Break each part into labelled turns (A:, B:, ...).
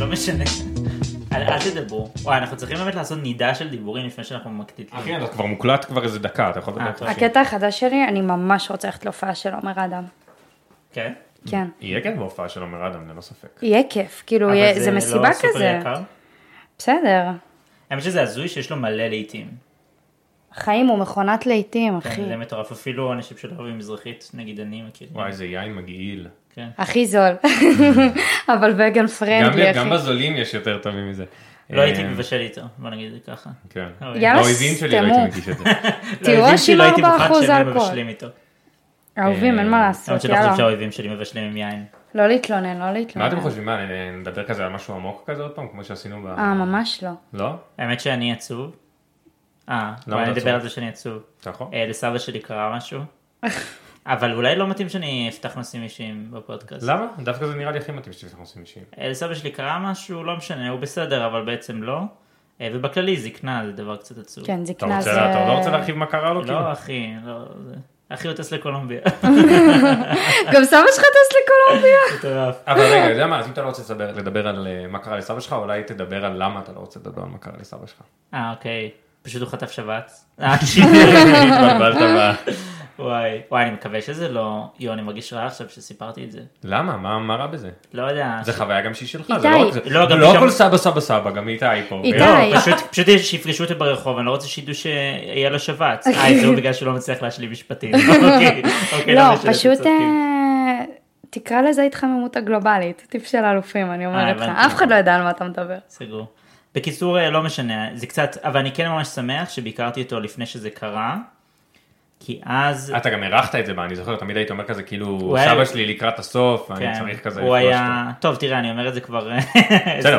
A: לא משנה. אל, אל תדברו. וואי, אנחנו צריכים באמת לעשות נידה של דיבורים לפני שאנחנו
B: אה.
A: מקטיטים.
C: אחי, אתה כבר מוקלט כבר איזה דקה, אתה יכול לדבר
A: אה,
C: עכשיו.
B: הקטע החדש שלי, אני ממש רוצה ללכת להופעה של עומר אדם.
A: כן?
B: כן.
C: יהיה כן בהופעה של עומר אדם, ללא ספק.
B: יהיה כיף, כאילו,
A: אבל
B: יהיה- זה מסיבה
A: לא סופר
B: כזה.
A: יקר?
B: בסדר.
A: האמת שזה הזוי שיש לו מלא לעיתים.
B: חיים הוא מכונת להיטים, אחי.
A: כן, זה מטורף, אפילו אנשים שלא אוהבים מזרחית, נגיד אני מכיר.
C: וואי, איזה יין מגעיל.
A: כן.
B: הכי זול. אבל וגן
C: גם
B: פרנדלי,
C: גם
B: כן, אחי.
C: בזולים יש יותר טובים מזה.
A: לא הייתי
C: אה,
A: מבשל לא, איתו, בוא נגיד את זה ככה.
C: כן.
A: אוי.
B: יאללה,
C: האויבים שלי לא
B: סתמו.
C: הייתי מגיש את זה.
B: תראו
A: לאויבים שלי לא הייתי
B: 4%
A: מוכן שהם
B: אלכוהול.
A: מבשלים איתו.
B: אהובים, אין מה
C: אה,
A: למרות
B: לעשות,
A: שאני לא חושב
B: יאללה.
A: שהאויבים שלי מבשלים עם יין.
B: לא להתלונן, לא להתלונן.
C: מה אתם חושבים? מה, נ- נדבר כזה על משהו עמוק כזה עוד פעם, כמו שעשינו ב...
B: אה, ממש לא.
C: לא?
A: האמת שאני עצוב. אה,
C: אתה
A: בואי
C: עצוב?
A: נדבר על זה שאני עצוב.
C: אתה יכול?
A: אה, לסבא שלי קרה משהו. אבל אולי לא מתאים שאני אפתח נושאים אישיים בפודקאסט.
C: למה? דווקא זה נראה לי הכי מתאים שאתם עושים אישיים.
A: אה, לסבא שלי קרה משהו, לא משנה, הוא בסדר, אבל בעצם לא. אה, ובכללי זקנה זה דבר קצת עצוב.
B: כן,
C: אתה
B: זקנה
C: רוצה,
B: זה...
C: אתה לא רוצה להרחיב מה קרה לו? כאילו?
A: לא, אחי, לא, זה... אחי הוא טס לקולומביה.
B: גם סבא שלך טס לקולומביה?
A: מטורף.
C: אבל רגע, אתה יודע מה, אז אם אתה לא רוצה לדבר- לדבר על אה, מה קרה לסבא שלך, אולי תדבר על למה אתה לא רוצה לדבר על מה קרה לסבא שלך.
A: אה, אוקיי. פשוט הוא חטף שבץ. אה,
C: התבלבלת ב...
A: וואי, וואי, אני מקווה שזה לא... יואו, אני מרגיש רע עכשיו שסיפרתי את זה.
C: למה? מה- מה רע בזה?
A: לא יודע.
C: זה
A: ש-
C: חוויה גם שהיא שלך,
B: איתי.
C: זה לא רק זה.
A: לא, גם
C: לא
A: שם-
C: הכל סבא סבא סבא, גם איתי פה.
B: איתי.
C: לא,
B: די.
A: לא, פשוט, פשוט שיפגשו אותי ברחוב, אני לא רוצה שידעו שהיה לו שבץ. אה, זה לא בגלל שהוא לא מצליח להשלים משפטים. אוקיי, אוקיי, למה
B: לא,
A: שאתם
B: פשוט...
A: צודקים?
B: אה, תקרא לזה התחממות הגלובלית, טיפ של אלופים, אני אומרת לך.
A: הבנתי.
B: אף אחד לא יודע על מה אתה מדבר.
A: סגור. בקיצור, אה, לא משנה, זה קצת, אבל אני כן ממש שמח שביקרתי אותו לפני שזה קרה, כי אז...
C: אתה גם הרחת את זה, מה, אני זוכר, תמיד היית אומר כזה, כאילו,
A: הוא היה-
C: סבא שלי לקראת הסוף, ואני
A: כן,
C: צריך כזה
A: הוא
C: לפגוש אותו.
A: היה... טוב, תראה, אני אומר את זה כבר... אה,
C: בסדר,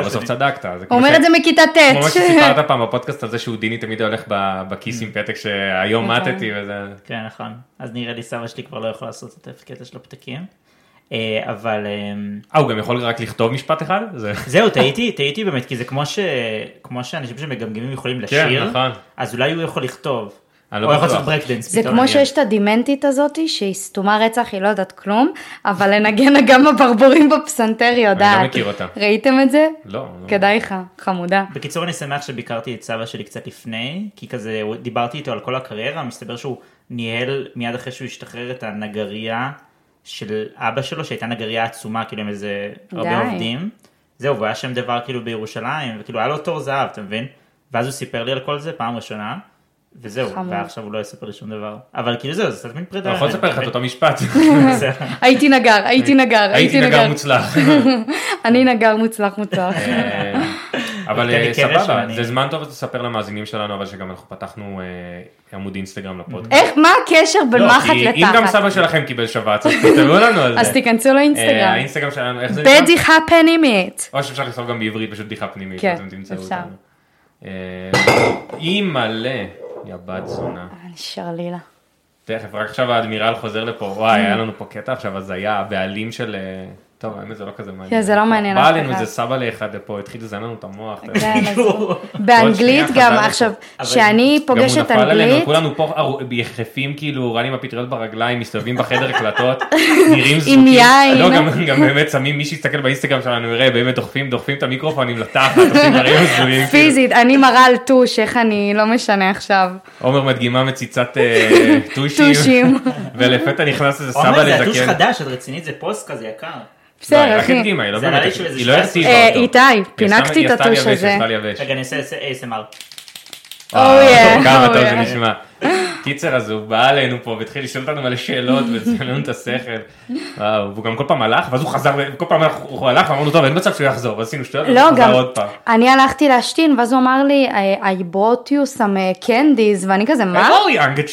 A: עשר
C: בסוף
A: שנים.
C: צדקת. זה
B: הוא
C: כמו
B: אומר
C: ש-
B: את זה מכיתה
C: כמו מה
B: ט'.
C: שסיפרת פעם בפודקאסט על זה שהודיני תמיד הולך ב- בכיס
A: Mm.
C: עם פתק שהיום
B: נכון.
C: מטתי וזה...
A: כן, נכון. אז נראה לי סבא שלי כבר לא יכול לעשות את הקטע של הפתקים. אה, אבל אמ,
C: אה, הוא גם יכול רק לכתוב משפט אחד? זה...
A: זהו, טעיתי, טעיתי באמת, כי זה כמו ש- כמו שאנשים שמגמגמים יכולים לשיר,
C: נכון.
A: אז אולי הוא יכול לכתוב.
C: אני לא
A: הוא יכול
C: בטוח.
A: לעשות ברקדנס
B: זה
A: פתאום.
B: כמו שיש את הדמנטית הזאתי, שהיא סתומה רצח, היא לא יודעת כלום, אבל לנגן אגם הברבורים בפסנתר היא יודעת.
C: לא מכיר אותה.
B: ראיתם את זה?
C: לא. לא.
B: כדאי לך, חמודה.
A: בקיצור, אני שמח שביקרתי את סבא שלי קצת לפני, כי כזה הוא- דיברתי איתו על כל הקריירה, מסתבר שהוא ניהל מיד אחרי שהוא השתחרר את הנגרייה של אבא שלו, שהייתה נגרייה עצומה, כאילו עם איזה הרבה
B: די.
A: עובדים. זהו, והוא היה שם דבר כאילו בירושלים, וכאילו היה לו תור זהב, אתה מבין? ואז הוא סיפר לי על כל זה פעם ראשונה, וזהו,
B: חמוד.
A: ועכשיו הוא לא יספר לי שום דבר. אבל כאילו זהו, זה קצת מין פרידה.
C: אני יכול לספר לך את אותו משפט.
A: זה-
B: הייתי נגר, הייתי נגר,
C: הייתי נגר מוצלח.
B: אני נגר מוצלח מוצלח.
C: אה, אבל
A: תן לי
C: אה,
A: קרש
C: סבבה,
A: ואני-
C: זה זמן טוב לספר למאזינים שלנו, אבל שגם אנחנו פתחנו אה, עמוד אינסטגרם לפודקאסט.
B: איך, מה הקשר בין
C: לא,
B: מחט
C: כי אם גם
B: לתחת?
C: סבא שלכם קיבל שבץ, אז תכתבו לנו על
B: אז
C: זה.
B: תיכנסו
C: אה,
B: לאינסטגרם.
C: האינסטגרם שלנו, איך זה נקרא?
B: בדיחה פנימית.
C: או שאפשר לכתוב גם בעברית, פשוט בדיחה פנימית,
B: כן,
C: אז אתם תמצאו
B: אפשר.
C: אותנו. אה, אי מלא, יא בת זונה.
B: אני שרלילה.
C: תכף, רק עכשיו האדמירל חוזר לפה, וואי, היה לנו פה קטע עכשיו הזיה, הבעלים של... אה, טוב, האמת זה לא כזה מעניין.
B: כן, זה לא מעניין
C: בא
B: אף
C: עלינו
B: אחד.
C: איזה סבא לאחד לפה, התחיל לזיין לנו את המוח. אתה יודע.
B: כן, אז-
A: כאילו,
B: באנגלית
C: שנייה,
B: גם
C: חזרנו.
B: עכשיו,
A: אבל-
B: שאני
C: גם הוא
B: פוגשת
C: נפל עלינו,
B: אנגלית,
C: כולנו פה ארו- יחפים כאילו, רן עם הפטריות ברגליים, מסתובבים בחדר קלטות, נראים זרוקים.
B: יין.
C: לא, גם- גם באמת שמים, מי שיסתכל באינסטגרם שלנו יראה, באמת דוחפים, דוחפים את המיקרופונים לתחת, עושים דברים הזויים. כאילו.
B: פיזית, אני מראה על טוש, איך אני לא משנה עכשיו.
C: עומר מדגימה מציצת אה, טושים,
B: טושים.
C: ולפתע נכנס איזה סבא
A: עומר זה הטוש
C: לזקן.
A: חדש, את רצינית, זה פוסט כזה יקר.
C: לא, היא
B: בסדר,
C: רק
B: אחי.
C: הדגימה, היא לא
A: זה נראה לי
C: באמת,
A: שהוא איזה
C: היא לא
A: 17.
C: הרטיבה
B: אה,
C: אותו.
B: איתי,
C: היא עשתה-
B: פינקתי
C: היא
B: את
C: עשתה
B: הטוש
C: לייבש,
B: הזה.
C: היא עשתה לייבש.
A: רגע, אני אעשה ASMR.
C: וואו,
B: yeah,
C: כמה
B: oh
C: אה, טוב זה
B: yeah.
C: נשמע. קיצר, אז הוא בא אלינו פה והתחיל לשאול אותנו מלא שאלות ולציין לנו את השכל. וואו, והוא גם כל פעם הלך, ואז הוא חזר, וכל פעם אנחנו- הוא הלך ואמרנו, טוב, אין מצב שהוא יחזור, ואז עשינו שטויות,
B: לא,
C: והוא חזר
B: גם,
C: עוד פעם.
B: אני הלכתי להשתין, ואז הוא אמר לי, I- I brought you some uh, candies, ואני כזה, מה?
C: Hello, younger oh,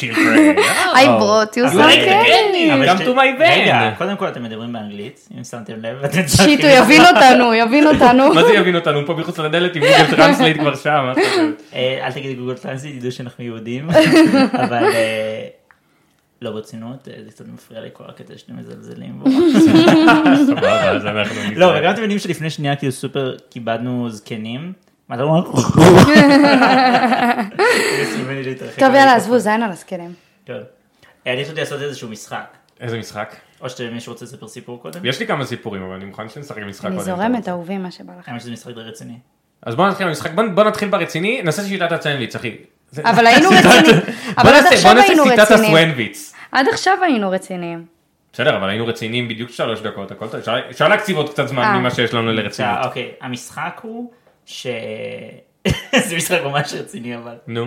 C: children. Oh.
B: I
C: אה,
B: brought you
C: אבל
B: some
C: רגע,
B: candies.
C: אבל Come
A: שת-
C: to my van.
A: רגע, קודם כל אתם מדברים באנגלית, אם שמתם לב, ואתם צוחקים.
B: שיט, הוא יבין אותנו, יבין אותנו.
C: מה זה יבין אותנו הוא פה מחוץ לדלת עם גוגל טרנסלייט כבר שם? מה זאת אומרת?
A: אה, אל תגידי גוגל טרנסי, תדעו שאנחנו יהודים, אבל אה, לא ברצינות, אה, זה קצת מפריע לי כל הקטע שאתם מזלזלים בו.
C: סבבה, אז אנחנו נזרום.
A: לא, וגם אתם יודעים שלפני שנייה כאילו סופר כיבדנו זקנים. מה אתה לא אומר? זה סימן לי להתרחק
B: טוב, יאללה,
A: מהמיקרופון.
B: עזבו, זין על הזקנים.
A: טוב. אה, אני חשבתי לעשות איזשהו משחק.
C: איזה משחק?
A: או שמישהו רוצה לספר סיפור קודם?
C: יש לי כמה סיפורים, אבל אני מוכן שנשחק משחק
B: אני
C: קודם.
B: זורמת אהובי מה שבא לכם.
A: האמת שזה משחק די רציני.
C: אז בוא נתחיל במשחק, בוא, בוא נתחיל ברציני, נעשה שיטת הצנדוויץ, אחי. זה-
B: אבל היינו
C: שיטת-
B: רציניים.
C: בוא
B: אבל עד
C: נעשה-
B: עכשיו
C: בוא נעשה
B: היינו
C: שיטת
B: רציניים.
C: הסוונדוויץ.
B: עד עכשיו היינו רציניים.
C: בסדר, אבל היינו רציניים בדיוק שלוש דקות, הכל טוב. אפשר- אפשר להקציב עוד קצת זמן
B: אה.
C: ממה שיש לנו לרצינות.
A: אה, אוקיי, המשחק הוא ש... זה משחק ממש רציני אבל.
C: נו.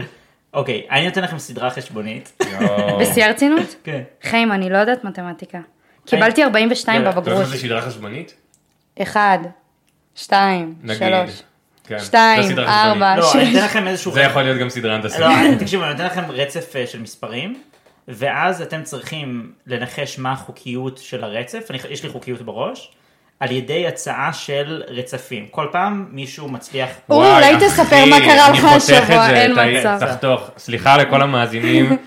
A: אוקיי, אני נותן לכם סדרה חשבונית.
C: יואו.
B: בשיא הרצינות?
A: כן.
B: חיים, אני לא יודעת מתמטיקה. קיבלתי 42
A: לא, לא,
C: אתה יודע
B: בבגרות.
C: שזה סדרה חשבונית?
B: 1, 2,
C: נגיד.
B: 3,
C: כן.
B: 2,
C: זה סדרה חשבונית.
B: 4,
A: לא, אני
B: 6.
A: אתן לכם איזשהו...
C: זה יכול להיות גם סדרה הנדסית.
A: לא, תקשיבו, אני נותן לכם רצף אה, של מספרים, ואז אתם צריכים לנחש מה החוקיות של הרצף, אני, יש לי חוקיות בראש, על ידי הצעה של רצפים. כל פעם מישהו מצליח...
B: אורי,
C: וואי,
B: אולי
C: אחי,
B: תספר מה קרה
C: אני
B: לך
C: חותך את
B: השבוע,
C: זה,
B: אין
C: ת-
B: מצב.
C: תחתוך, סליחה לכל המאזינים,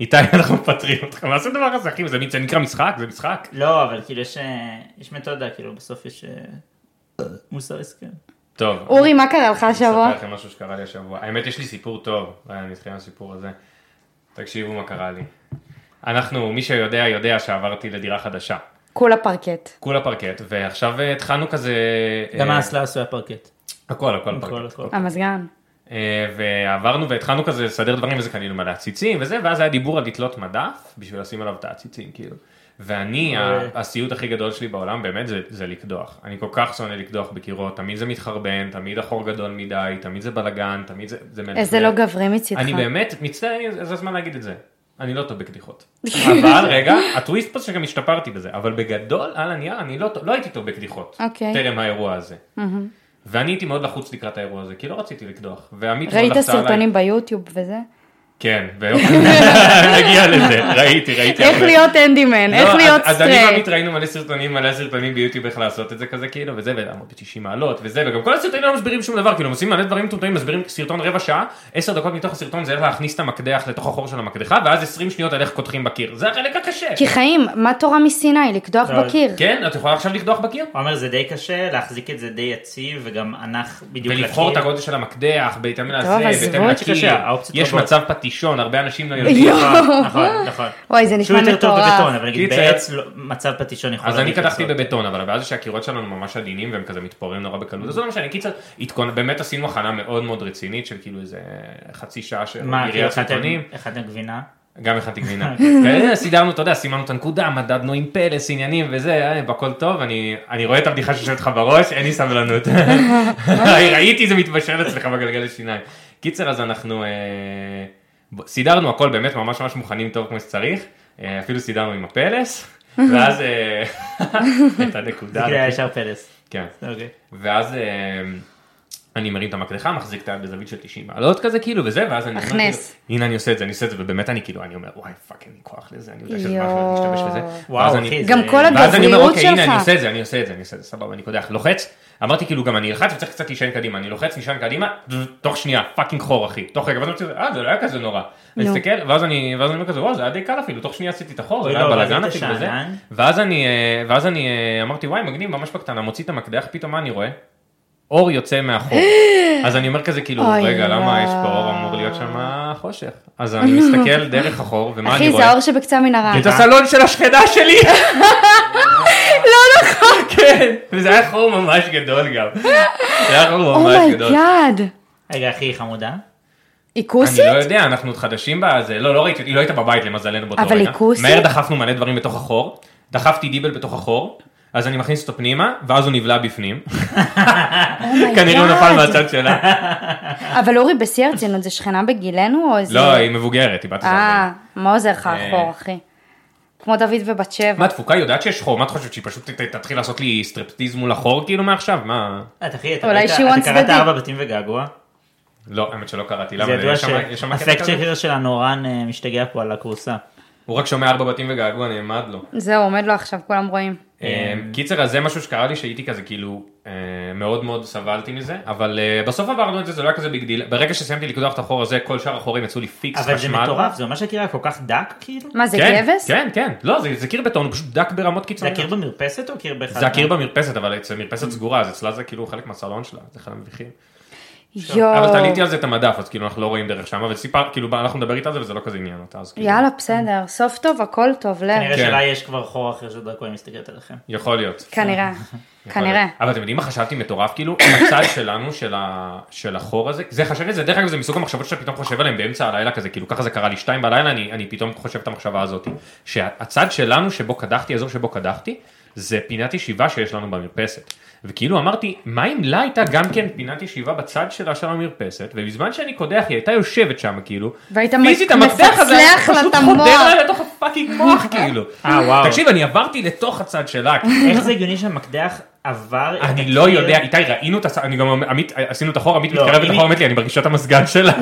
C: איתי אנחנו מפטרים אותך, מה זה הדבר הזה אחי, זה זה נקרא משחק, זה משחק.
A: לא, אבל כאילו יש, אה, יש מתודה, כאילו בסוף יש אה, מוסר הסכם.
C: טוב,
B: אורי, מה קרה לך השבוע?
C: אספר לכם משהו שקרה לי השבוע. האמת, יש לי סיפור טוב, אה, אני אתחיל עם הסיפור הזה. תקשיבו מה קרה לי. אנחנו, מי שיודע, יודע שעברתי לדירה חדשה.
B: כולה פרקט.
C: כולה פרקט, ועכשיו אה, התחלנו כזה... אה, אוקיי.
A: גם האסלה עשוי הפרקט.
C: הכל, הכל
A: הכל,
C: פרקט.
A: הכל.
B: המזגן.
C: אה, ועברנו והתחלנו כזה לסדר דברים וזה קנינו מלא עציצים וזה ואז היה דיבור על לתלות מדף בשביל לשים עליו את העציצים כאילו. ואני ה-
A: אה.
C: הסיוט הכי גדול שלי בעולם באמת זה, זה לקדוח אני כל כך שונא לקדוח בקירות תמיד זה מתחרבן תמיד החור גדול מדי תמיד זה בלאגן תמיד זה זה מעצבן.
B: איזה לא גברי מצידך.
C: אני באמת מצטער אני- זה הזמן להגיד את זה אני לא טוב בקדיחות. אבל רגע הטוויסט פה שגם השתפרתי בזה אבל בגדול על הנייר אני לא, טוב- לא הייתי טוב בקדיחות
B: אוקיי.
C: טרם האירוע הזה. ואני הייתי מאוד לחוץ לקראת האירוע הזה, כי לא רציתי לקדוח. ועמית מאוד
B: ראית
C: לחצה עליי.
B: סרטונים ביוטיוב וזה?
C: כן, ואופן, נגיע לזה, ראיתי, ראיתי.
B: איך
C: הרבה.
B: להיות אנדימן,
C: לא,
B: איך
C: אז-
B: להיות
C: אז אני ועמית
B: סטרייט.
C: ראינו מלא סרטונים, מלא סרטונים ביוטיוב איך לעשות את זה כזה כאילו, וזה, ו-90 מעלות, וזה, וגם כל הסרטונים לא מסבירים שום דבר, כאילו הם עושים מלא דברים מטומטמים, מסבירים סרטון רבע שעה, 10 דקות מתוך הסרטון זה איך להכניס את המקדח לתוך החור של המקדחה, ואז 20 שניות על איך קודחים בקיר, זה החלק הקשה.
B: כי חיים, מה תורה מסיני? לקדוח
A: לא,
B: בקיר.
C: כן, את יכולה עכשיו לקדוח בקיר?
A: עומר זה די קשה, להחזיק את זה די יציב, וגם אנך בדיוק
C: ולבחור את
A: לקיר.
C: הגודל של המקדח, בהתאם לזה,
B: טוב, עזבו
C: בהתאם
B: אותי.
C: לקיר,
A: קשה, האופציות
C: יש
A: רבות.
C: מצב פטישון, הרבה אנשים לא יודעים.
B: יואו.
A: נכון, נכון.
B: וואי, זה נשמע
A: שהוא יותר טוב בבטון,
B: מטורף.
A: אבל נגיד
C: קיצר.
A: בעץ לא- מצב פטישון יכול...
C: אז אני
A: להביא
C: קדחתי
A: תוצאות.
C: בבטון, אבל הבעיה זה שהקירות שלנו ממש עדינים והם כזה מתפוררים נורא
A: Mm.
C: בקלות, אז זה לא משנה, קיצר, התכונ- באמת עשינו הכנה מאוד מאוד רצינית של כאילו איזה חצי שעה של
A: מה, כאילו
C: יריית
A: הכנתם
C: סרטונים,
A: הכנתם גבינה?
C: גם הכנתי גבינה. כן, סידרנו, אתה יודע, סימנו את הנקודה, מדדנו עם פלס, עניינים וזה, אה, הכל טוב, אני אני רואה את הבדיחה שיושבת לך בראש, אין לי סבלנות. ראיתי זה מתבשל אצלך בגלגל השיניים. קיצר, אז אנחנו אה, ב- סידרנו הכל באמת ממש ממש מוכנים טוב כמו שצריך, אה, אפילו סידרנו עם הפלס. ואז אה, הייתה
A: זה
C: נקודה,
A: כאילו היה ישר פלס.
C: כן.
A: אוקיי.
C: ואז אה, אני מרים את המקדחה, מחזיק את היד בזווית של 90 מעלות כזה כאילו וזה, ואז אני אומר, כאילו,
B: הכנס.
C: הנה אני עושה את זה, אני עושה את זה, ובאמת אני כאילו, אני אומר, וואי פאקינג כוח לזה, אני יודע שזה משהו,
B: יואו.
C: אני משתמש בזה.
A: וואו,
C: ואז
A: אחי,
C: אני-
A: זה-
B: גם כל
C: ואז אני אומר,
B: הגבריות
C: אוקיי, הנה אני
B: שלך.
C: עושה את זה, אני עושה את זה, אני עושה את זה, סבבה, אני קודח, לוחץ. אמרתי כאילו גם אני אלחץ וצריך קצת להישען קדימה, אני לוחץ, נשען קדימה, תוך שנייה, פאקינג חור אחי, תוך רגע, ואז אני חושב, אה זה לא היה כזה נורא. אני
B: נו.
C: מסתכל, ואז אני ואז אני אומר כזה, וואו זה היה די קל אפילו, תוך שנייה עשיתי את החור, זה
A: אוי,
C: היה
A: לא, ואז
C: בלאגן
A: היית
C: אפילו וזה.
A: שאנן.
C: ואז אני, אה, ואז אני אה, אמרתי וואי מגניב ממש בקטנה, מוציא את המקדח, פתאום מה אני רואה? אור יוצא מהחור. אז אני אומר כזה כאילו,
B: אוי,
C: רגע למה
B: לא.
C: יש פה אור אמור להיות שם חושך. אז אני מסתכל דרך החור, ומה אני
B: אחי,
C: רואה?
B: זה האור שבקצה המנהרה.
C: את הסלון של השכנה שלי. לא
B: לא
C: נכון. כן, וזה היה חור ממש גדול גם. זה היה חור
B: Oh
C: ממש גדול. לא
B: אומייגאד.
A: רגע, אחי חמודה.
B: היא
C: אני
B: כוסית?
C: לא יודע, אנחנו עוד חדשים בזה, לא, לא ראיתי, היא לא הייתה בבית למזלנו באותו רגע.
B: אבל היא כוסית?
C: מהר דחפנו מלא דברים בתוך החור, דחפתי דיבל בתוך החור, אז אני מכניס אותו פנימה, ואז הוא נבלע בפנים.
B: Oh אומייגאד.
C: כנראה הוא נפל מהצד שלה.
B: אבל אורי, בשיא הרצינות, זה שכנה בגילנו או איזה...
C: לא, היא מבוגרת, היא בת עשרה.
B: אה, מה עוזר לך
C: אה.
B: החור, אחי? כמו דוד ובת שבע.
C: מה, תפוקה יודעת שיש חור, מה את חושבת, שהיא פשוט ת- תתחיל לעשות לי סטרפטיז מול החור כאילו מעכשיו? מה?
A: את אחי, אה, אתה
B: אולי
A: ראית-
B: שיעורן
A: אתה קראת
B: צדדי.
A: ארבע בתים וגעגוע?
C: לא, האמת שלא קראתי,
A: זה
C: למה?
A: ידוע
C: יש שם- יש שם קטע
A: שהפקט
C: כזה?
A: שקר שלנו רן אה, משתגע פה על הכורסה.
C: הוא רק שומע ארבע בתים וגעגוע נעמד לו.
B: זהו, עומד לו עכשיו, כולם רואים.
A: כן.
C: אה, קיצר אז זה משהו שקרה לי שהייתי כזה כאילו אה, מאוד מאוד סבלתי מזה אבל אה, בסוף עברנו את זה זה לא היה כזה ביג דיל ברגע שסיימתי לקדוח את החור הזה כל שאר החורים יצאו לי פיקס חשמל.
A: אבל זה מטורף, זה ממש הקירה כל כך דק כאילו?
B: מה, זה
C: כן,
B: גבס?
C: כן כן לא זה זה קיר בטון הוא פשוט דק ברמות
A: זה
C: קיצוניות.
A: הקיר במרפסת או קיר באחד?
C: זה הקיר במרפסת אבל אצל מרפסת סגורה אז אצלה זה כאילו חלק מהסלון שלה זה אחד המביכים.
B: יואו.
C: אבל תליתי על זה את המדף, אז כאילו אנחנו לא רואים דרך שם, אבל סיפר, כאילו הלכנו לדבר איתה על זה וזה לא כזה עניין אותה, אז כאילו,
B: יאלה, בסדר, סוף טוב, הכל טוב, לב.
A: כנראה
C: כן.
A: שלה יש כבר חור אחר שדרכו היא מסתכלת עליכם.
C: יכול להיות.
B: כנראה,
C: יכול
B: כנראה.
C: להיות. אבל אתם יודעים מה חשבתי מטורף כאילו, הצד שלנו של, ה... של החור הזה, זה חשבתי את זה, דרך אגב זה מסוג המחשבות שאתה פתאום חושב עליהן באמצע הלילה כזה, כאילו ככה זה קרה לי שתיים בלילה, אני, אני פתאום חושב את המחשבה הזאת, שהצד שלנו שבו קדחתי, האזור שבו קדחתי, זה פינת ישיבה שיש לנו במרפסת. וכאילו אמרתי, מה אם לה הייתה גם כן פינת ישיבה בצד שלה של המרפסת, ובזמן שאני קודח היא הייתה יושבת שם כאילו,
B: והיית
C: פיזית
B: מ-
C: המפתח הזה היה
B: מפצלח לה
C: פשוט
B: את המוח.
C: חודר לה לתוך הפאקינג מוח כאילו.
A: אה, וואו.
C: תקשיב, אני עברתי לתוך הצד שלה,
A: איך זה הגיוני שהמקדח עבר את
C: אני
A: הקיר?
C: לא יודע, איתי ראינו את הס... אני גם אמ- עמית, עשינו את החור, עמית
A: לא,
C: מתקרבת
A: אם
C: לחור,
A: היא-
C: אומרת לי, אני מרגישה את המזגן שלה.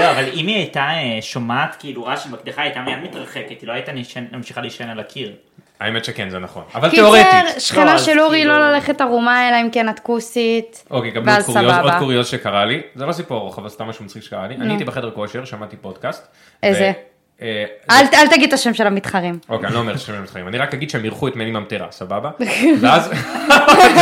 A: לא, אבל אם היא הייתה אה, שומעת כאילו רעש של מקדחה, היא הייתה מיד מתרחקת, היא לא הייתה נשען- ממשיכה להישען על הקיר.
C: האמת שכן, זה נכון. אבל
B: קיצר,
C: תיאורטית.
A: לא,
B: שכנה
A: אז
B: של אורי
A: כאילו-
B: לא ללכת ערומה, אלא אם כן את כוסית.
C: אוקיי, גם עוד
B: ואז
C: קוריוז,
B: סבבה.
C: עוד קוריוז שקרה לי, זה לא סיפור ארוך, אבל סתם משהו מצחיק שקרה לי. אני הייתי בחדר כושר, שמעתי פודקאסט.
B: איזה?
C: ו- אה, זה-
B: אל אל תגיד את השם של המתחרים.
C: אוקיי, אני לא אומר שהם מתחרים, אני רק אגיד שהם אירחו את מני ממטרה, סבבה? ואז...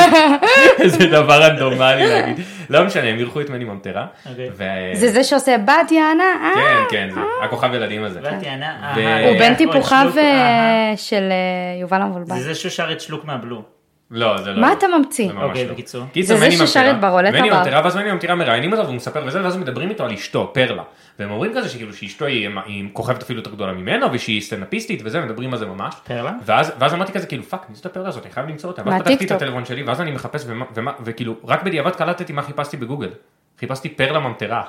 C: איזה דבר רנדומלי להגיד. לא משנה, הם אירחו את מני ממטרה.
A: אוקיי.
C: ו-
B: זה זה שעושה בת יענה, אה?
C: כן, כן, אה, זה הכוכב ילדים הזה.
A: והטענה,
C: ו-
A: לא אהה,
B: הוא בן
A: אוי,
B: טיפוחיו
A: שלוק, אהה.
B: אה, של אה, יובל המבולבל.
A: זה זה שהוא שר את שלוק מהבלו.
C: לא, זה לא...
B: מה
C: הוא.
B: אתה ממציא?
C: זה ממש
A: אוקיי,
C: לא.
A: בקיצור.
C: קיצר,
B: זה זה
C: מני
B: ששר
C: ממטירה-
B: את ברולטה
C: מני
B: בר.
C: ממטירה, ואז מני ממטירה מראיינים אותו והוא מספר וזה, ואז מדברים איתו על אשתו, פרלה. והם אומרים כזה שכאילו שאשתו היא היא כוכבת אפילו יותר גדולה ממנו, ושהיא סטנדאפיסטית וזה, מדברים על זה ממש.
A: פרלה?
C: ואז ואז אמרתי כזה, כאילו, פאק, מי זאת הפרלה הזאת, אני חייב למצוא אותה. ואז
B: מהטיקטוק.
C: פתחתי את הטלפון שלי, ואז אני מחפש, ומה- ומה- וכאילו, רק בדיעבד קלטתי מה חיפשתי בגוגל. חיפשתי פרלה ממטרה.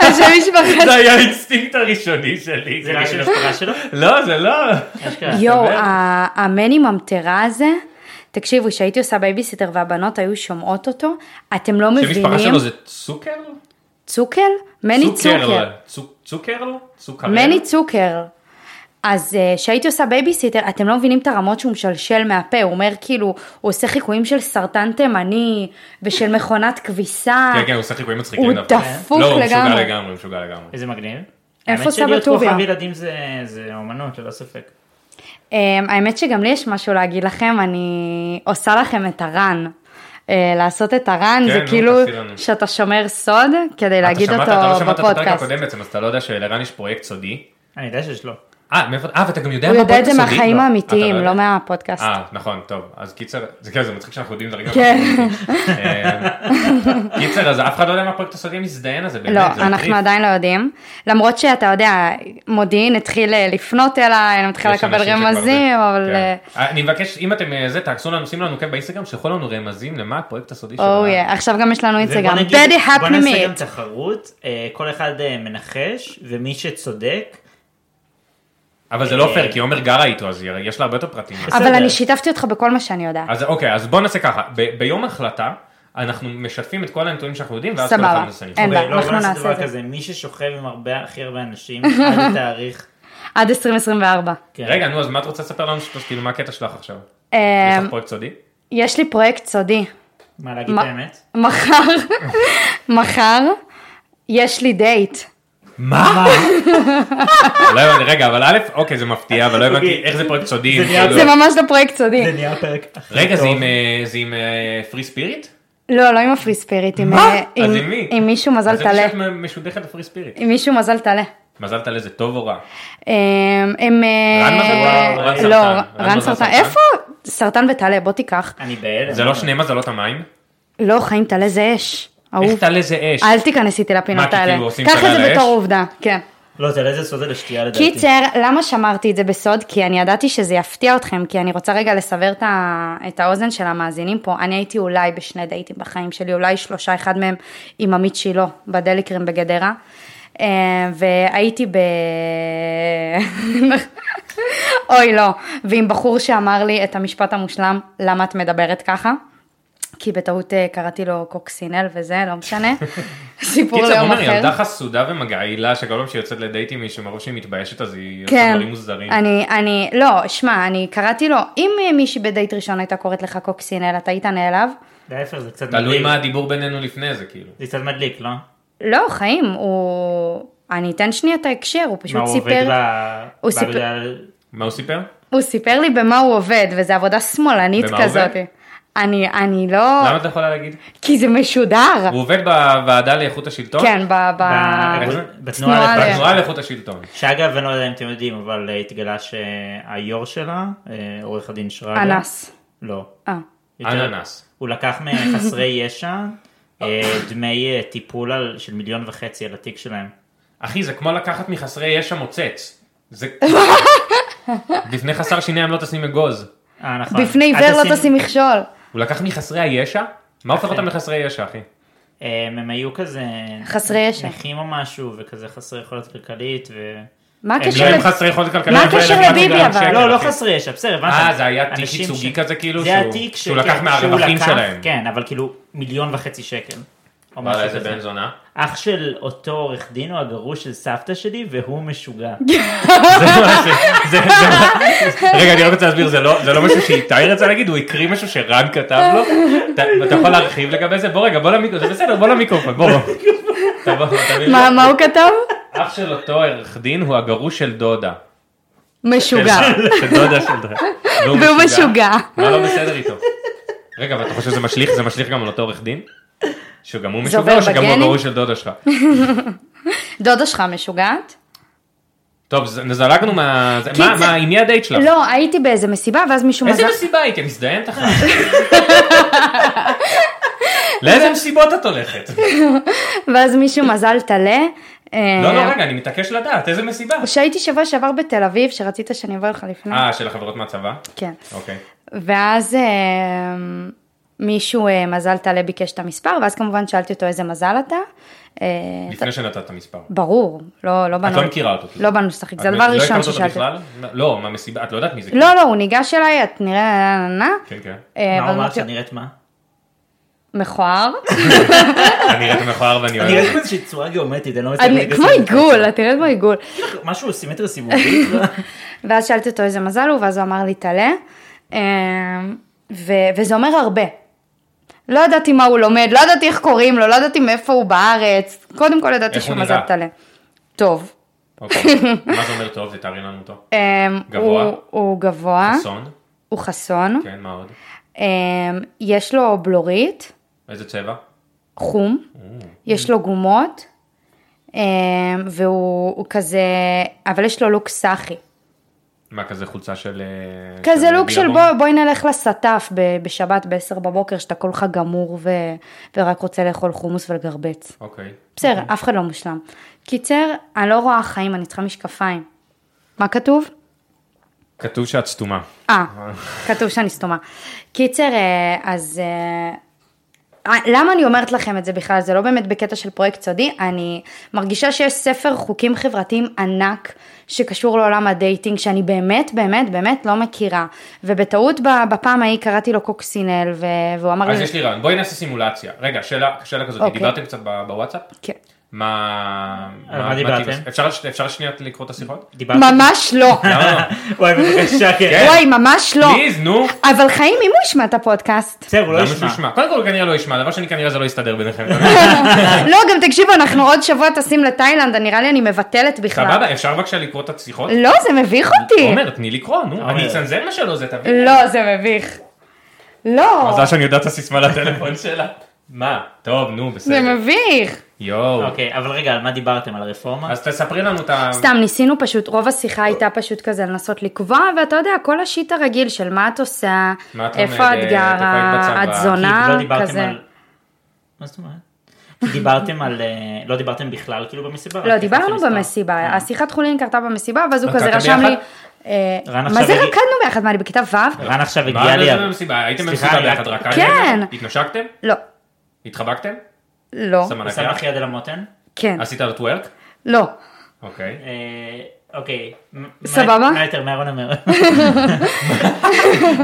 B: השם משפחה.
C: זה היה האינסטינקט הראשוני שלי.
A: זה לא השם
C: כאילו.
A: המשפחה שלו?
C: לא, זה לא.
A: אשכרה.
B: יואו,
C: באמת?
B: ה- המני ממטרה הזה, תקשיבו, כשהייתי עושה בייביסיטר והבנות היו שומעות אותו, אתם לא
C: שם משפחה
B: מבינים,
C: שלו זה צוקר?
B: צוקל? מני
C: לא,
B: צוקל.
C: צוק- צוקר? צוקר?
B: מני צוקר. אז אה, כשהייתי עושה בייביסיטר, אתם לא מבינים את הרמות שהוא משלשל מהפה, הוא אומר כאילו, הוא עושה חיקויים של סרטן תימני, ושל מכונת כביסה.
C: כן, כן, הוא עושה חיקויים מצחיקים.
B: אה. הוא
C: דווקא.
B: דפוק
C: לא, הוא משוגע
B: לגמרי.
C: לגמרי, הוא משוגע לגמרי.
A: איזה מגניב.
B: איפה
A: האמת
B: סבא
A: שלהיות
B: טוביה?
A: כוכב ילדים זה- זה אומנות, ללא ספק.
B: אמ, האמת שגם לי יש משהו להגיד לכם, אני עושה לכם את הרן. אה, לעשות את הרן
C: כן,
B: זה
C: נו,
B: כאילו
C: תעשי לנו.
B: שאתה שומר סוד כדי אה, להגיד אותו
C: אתה לא שמעת את הפרק
B: בפודקאסט.
C: הקודם בעצם, אז אתה לא יודע שלרן יש פרויקט סודי.
A: אני יודע שיש לו.
C: אה, מאיפה, אה, ואתה גם יודע
B: הוא
C: מה
B: יודע את זה
C: הפרויקט הסודי?
B: מהחיים
C: לא.
B: האמיתיים,
C: אתה
B: לא מהפודקאסט.
C: אה, אוקיי, נכון, טוב. אז קיצר, זה כן, זה מצחיק שאנחנו יודעים את זה רגע.
B: כן.
C: אה, קיצר, אז אף אחד לא יודע מה הפרויקט הסודי המזדיין הזה, באמת,
B: לא,
C: זה מטריף.
B: אנחנו עדיין לא יודעים. למרות שאתה יודע, מודיעין התחיל אה, לפנות אליי, אני מתחילה
C: יש
B: לקבל
C: אנשים שכבר
B: רמזים,
C: זה.
B: אבל...
C: כן.
B: אה,
C: אה, אני מבקש, אם אתם אה, זה, תעשו לנו, שימו לנו עוקב באינסטגרם, שלחו לנו רמזים למה הפרויקט הסודי של
B: אוי,
C: הרן.
B: עכשיו גם יש לנו
A: ובוא
B: אינסטגרם.
A: נגיד-
B: דדי
A: בוא
B: הפ
A: נעשה גם
B: מיט.
A: תחרות, אה, כל אחד אה, מנחש, ומי שצודק,
C: אבל זה לא פייר, כי עומר גרה איתו, אז יש לה הרבה יותר פרטים.
B: אבל
A: בסדר.
B: אני שיתפתי אותך בכל מה שאני יודעת.
C: אז אוקיי, אז בוא נעשה ככה, ב- ביום החלטה, אנחנו משתפים את כל הנתונים שאנחנו יודעים, ואז כל
B: סבבה.
C: אחד מסיים.
B: אין. בעיה,
A: לא, בוא
B: אנחנו
A: נעשה
B: נעשה
A: דבר
B: את זה.
A: כזה, מי ששוכב עם הרבה- הכי הרבה אנשים, עד התאריך.
B: עד 2024.
A: כן.
C: רגע, נו, אז מה את רוצה לספר לנו? שטוס? כאילו, מה הקטע שלך עכשיו? יש
B: אמ,
C: לך פרויקט סודי?
B: יש לי פרויקט סודי.
A: מה להגיד את
B: מה-
A: האמת?
B: מחר, מחר, יש לי דייט.
C: מה? לא הבנתי, רגע, אבל א', אוקיי, זה מפתיע, אבל לא הבנתי
A: אוקיי.
C: איך זה פרויקט סודי.
A: זה
C: אם
A: נהיה-
C: כאילו-
B: זה ממש לא פרויקט סודי.
A: זה נהיה הפרק הכי
C: רגע, זה
A: טוב.
C: עם, אה, זה עם פרי ספיריט?
B: לא, לא עם הפרי ספיריט, עם,
C: מה?
B: אה,
C: אז עם מי?
B: עם מישהו מזל
C: אז אני
B: טלה.
C: חושבת מ- משודכת לפרי ספיריט.
B: עם מישהו מזל טלה.
C: מזל טלה זה טוב או רע?
B: הם... הם, אה,
C: רן מזל- וואו, רן
B: לא,
C: סרטן. רן
B: רן
C: מזל
B: סרטן.
C: סרטן.
B: איפה? סרטן וטלה, בוא תיקח.
A: אני בהלם.
C: זה לא שני מזלות המים?
B: לא, חיים טלה זה אש. אהוב.
C: איך טלה זה אש?
B: אל תיכנס איתי לפינות
C: כי
B: האלה.
C: כאילו עושים
B: קח
C: טלה
B: את
C: על
B: זה
C: האש?
B: בתור עובדה, כן.
A: לא, זה לא איזה סוד זה לשתייה לדעתי.
B: קיצר, למה שמרתי את זה בסוד? כי אני ידעתי שזה יפתיע אתכם, כי אני רוצה רגע לסבר את, ה... את האוזן של המאזינים פה. אני הייתי אולי בשני דייטים בחיים שלי, אולי שלושה, אחד מהם עם עמית שילה, בדליקרים בגדרה. אה, והייתי ב... אוי לא, ועם בחור שאמר לי את המשפט המושלם, למה את מדברת ככה? כי בטעות אה, קראתי לו קוקסינל וזה, לא משנה. סיפור
C: קיצר,
B: ליום
C: עומר,
B: אחר.
C: ילדה חסודה ומגעילה, שכל פעם שהיא יוצאת לדייט עם מישהו, מרוב שהיא מתביישת, אז היא עושה
B: כן,
C: דברים מוזרים.
B: אני, אני, לא, שמע, אני קראתי לו, אם אה, מישהי בדייט ראשון הייתה קוראת לך קוקסינל, אתה היית נעלב?
A: להפך, זה קצת
C: תלוי
A: מדליק.
C: מה הדיבור בינינו לפני זה, כאילו.
A: זה קצת מדליק, לא?
B: לא, חיים, הוא... אני אתן שנייה את ההקשר, הוא
A: מה,
B: פשוט
A: הוא עובד
B: סיפר,
A: ב...
B: הוא סיפר-
A: בגלל-
C: מה הוא סיפר?
B: אה. הוא סיפר לי במה הוא עובד, וזו עבודה שמאלנית
C: במה הוא
B: כזאת.
C: עובד?
B: אני, אני לא...
C: למה את לא יכולה להגיד?
B: כי זה משודר.
C: הוא לא- עובד בוועדה לאיכות השלטון?
B: אה. כן, ב... ב...
A: ב-
B: בתנועה
A: בתנועה
B: ל-
A: לתנועה.
C: בתנועה לאיכות השלטון.
A: שאגב, אני לא יודע אם אתם יודעים, אבל אה, התגלה שהיו"ר שלה, אה, עורך הדין שרגא.
B: אנס.
A: לא.
B: אה.
A: יותר-
C: אננס.
A: הוא לקח מחסרי ישע אה, דמי אה, טיפול על- של מיליון וחצי על התיק שלהם.
C: אחי, זה כמו לקחת מחסרי ישע מוצץ. זה... לפני חסר שיניים לא תשים אגוז.
A: אה, נכון.
B: בפני
A: אל
B: עיוור לא תשים מכשול.
C: הוא לקח מחסרי הישע? מה הופך אותם לחסרי ישע, אחי?
A: אה, הם היו כזה...
B: חסרי ישע.
A: נכים או משהו, וכזה חסרי יכולת כלכלית, ו...
B: מה
A: הם
C: הם
B: הקשר
C: לא הם
B: לזה?
C: חסרי יכולת כלכלית.
B: מה
C: הם לא
B: הקשר
C: ילדים
B: לביבי,
C: מיליון
B: אבל?
C: שקל,
A: לא, לא
C: אחי.
A: חסרי ישע, בסדר, הבנת.
C: אוקיי. אה, זה היה תיק
A: אנשים
C: ייצוגי כזה, כאילו,
A: זה
C: שהוא-
A: התיק
C: שהוא
A: שכן,
C: לקח מהרווחים
A: לקח,
C: שלהם.
A: כן, אבל כאילו מיליון וחצי שקל. או
C: וואלה,
A: משהו
C: איזה
A: כזה.
C: בן זונה.
A: אח של אותו עורך דין הוא הגרוש של סבתא שלי, והוא משוגע.
C: זה מה ש- זה- זה מה- רגע, אני רק רוצה להסביר, זה לא- זה לא משהו שאיתי רצה להגיד, הוא הקריא משהו שרן כתב לו. אתה אתה יכול להרחיב לגבי זה? בוא רגע, בוא למיקרופון, זה בסדר, בוא למיקרופון, בוא. תבוא, תביא לי.
B: מה מה הוא כתב?
C: אח של אותו עורך דין הוא הגרוש של דודה.
B: משוגע.
C: של דודה של דודה.
B: והוא משוגע.
C: מה לא בסדר איתו? רגע, אבל אתה חושב שזה משליך, זה משליך גם על אותו עורך דין? שגם הוא
B: זה
C: משוגע או
B: עובר
C: שגם הוא
B: בגנים?
C: הגרוש של דודה שלך?
B: דודה שלך משוגעת?
C: טוב, ז- זלגנו מה... זה-
B: כי
C: מה,
B: זה-
C: מה, עם מי הדייט שלך?
B: לא, הייתי באיזה מסיבה ואז מישהו
C: איזה
B: מזל...
C: מסיבה הייתי? מזדיינת אחת. לאיזה מסיבות את הולכת?
B: אה. ואז מישהו מזל טלה. אה,
C: לא, לא, רגע, אני מתעקש לדעת, איזה מסיבה?
B: שהייתי שבוע שעבר בתל אביב, שרצית שאני אבוא לך לפני.
C: אה, של החברות מהצבא?
B: כן.
C: אוקיי.
B: ואז אה, מישהו אה, מזל טלה ביקש את המספר, ואז כמובן שאלתי אותו איזה מזל אתה. אה,
C: לפני שנתת את המספר. את
B: ברור, לא, לא באנו...
C: לא מכירה אותו. כאילו.
B: לא באנו לשחק, זה
C: את
B: הדבר
C: לא
B: הראשון
C: הכרת אותו
B: ששאלתי.
C: בכלל? לא, מהמסיבה, את לא יודעת מי זה.
B: לא, לא, הוא ניגש אליי, את נראה... נה, נה,
C: כן, כן.
B: אה,
A: מה
B: אבל
A: הוא אמר
B: אמרתי לו,
A: שנראית מה?
B: מכוער.
C: אני נראית מכוער
A: אני
C: ואני אוהב.
A: ראיתי באיזושהי צורה גיאומטית, אני לא מצליח
B: אני-
A: להגיד
B: כמו
A: את זה.
B: עיגול, את נראית כמו עיגול.
A: משהו סימטר סיבובי.
B: ואז שאלתי אותו איזה מזל הוא, ואז הוא אמר לי תלה. אה, ו- וזה אומר הרבה. לא ידעתי מה הוא לומד, לא ידעתי איך קוראים לו, לא ידעתי מאיפה הוא בארץ. קודם כל ידעתי
C: איך הוא
B: שהוא מזל
C: נראה?
B: תלה. טוב.
C: אוקיי. מה זה אומר טוב? תתארי לנו אותו.
B: אה,
C: גבוה?
B: הוא- הוא גבוה,
C: אסון?
B: הוא חסון,
C: כן, מה עוד?
B: אה, יש לו בלורית,
C: איזה צבע?
B: חום,
C: Mm.
B: יש לו גומות, אה, והוא הוא כזה, אבל יש לו לוק סאחי.
C: מה, כזה חולצה של... אה,
B: כזה
C: של
B: לוק של
C: בילבון?
B: בוא, בואי נלך לסטף ב- בשבת ב-10 בבוקר, שאתה כולך גמור ו... ורק רוצה לאכול חומוס ולגרבץ.
C: אוקיי.
B: בסדר, אף אחד לא מושלם. קיצר, אני לא רואה חיים, אני צריכה משקפיים. מה כתוב?
C: כתוב שאת סתומה.
B: אה, כתוב שאני סתומה. קיצר, אה, אז... אה, למה אני אומרת לכם את זה בכלל? זה לא באמת בקטע של פרויקט סודי, אני מרגישה שיש ספר חוקים חברתיים ענק שקשור לעולם הדייטינג, שאני באמת, באמת, באמת לא מכירה. ובטעות ב- בפעם ההיא קראתי לו קוקסינל, ו- והוא אמר לי...
C: אז יש לי רעיון, בואי נעשה סימולציה. רגע, שאלה שאלה כזאת,
B: אוקיי.
C: דיברתם קצת ב- בוואטסאפ?
B: כן.
C: מה...
A: על מה דיברתם?
C: אפשר- אפשר שנייה לקרוא את השיחות?
A: דיברתי.
B: ממש לא.
C: למה לא?
A: וואי, בבקשה, כן.
C: כן.
B: וואי, ממש לא.
C: פליז, נו.
B: אבל חיים, אם הוא ישמע את הפודקאסט.
A: בסדר, הוא לא
C: למה שהוא
A: ישמע.
C: ישמע? קודם כל הוא כנראה לא ישמע, דבר שני כנראה זה לא יסתדר ביניכם.
B: לא, גם תקשיבו, אנחנו עוד שבוע טסים לתאילנד, אני- נראה לי אני מבטלת בכלל.
C: סבבה, אפשר בבקשה לקרוא את השיחות?
B: לא, זה מביך אותי.
C: עומר, תני לקרוא, נו.
A: עומר.
C: אני אצנזר מה שלא זה, תביא.
B: לא, זה מביך. לא,
C: מזל שאני יודע את הסיסמה לטלפון שלה. מה? טוב, נו,
B: זה
C: בסדר.
B: מביך.
C: יואו.
A: אוקיי, אבל רגע, על מה דיברתם? על הרפורמה?
C: אז תספרי לנו את ה...
B: סתם, ניסינו פשוט, רוב השיחה הייתה פשוט כזה לנסות לקבוע, ואתה יודע, כל השיט הרגיל של מה את עושה,
C: מה את
B: איפה
C: אומרת,
B: את
C: איפה
B: גרה, את
C: היית בצבא,
A: כי
B: זונה,
A: לא דיברתם
B: כזה.
A: על- מה זאת אומרת? כי דיברתם על... אה, לא דיברתם בכלל כאילו במסיבה? רק
B: לא,
A: ככה
B: דיברנו
A: שמסתר.
B: במסיבה,
A: אה.
B: השיחת חולין קרתה במסיבה, ואז הוא
C: רקדתם
B: כזה רשם לי,
C: ביחד?
B: אה,
A: רן
B: מה
A: עכשיו
B: זה
A: הגיע-
B: רקדנו ביחד? מה, אני בכיתה
C: אה.
B: ו'?
A: רן עכשיו
C: מה
A: הגיע לי...
C: זה במסיבה? הייתם
A: סליחה,
C: במסיבה
A: אני רק-
C: ביחד רק...
B: כן.
C: התנשקתם?
B: לא,
C: התחבקתם?
B: לא,
C: שמה
A: הוא
C: לה
A: שם
C: יד?
A: לך יד על המותן?
B: כן,
C: עשית לו טוורק?
B: לא.
C: אוקיי.
A: אה, אוקיי. מ- מה-
B: סבבה?
A: מה יותר? מארון אומר.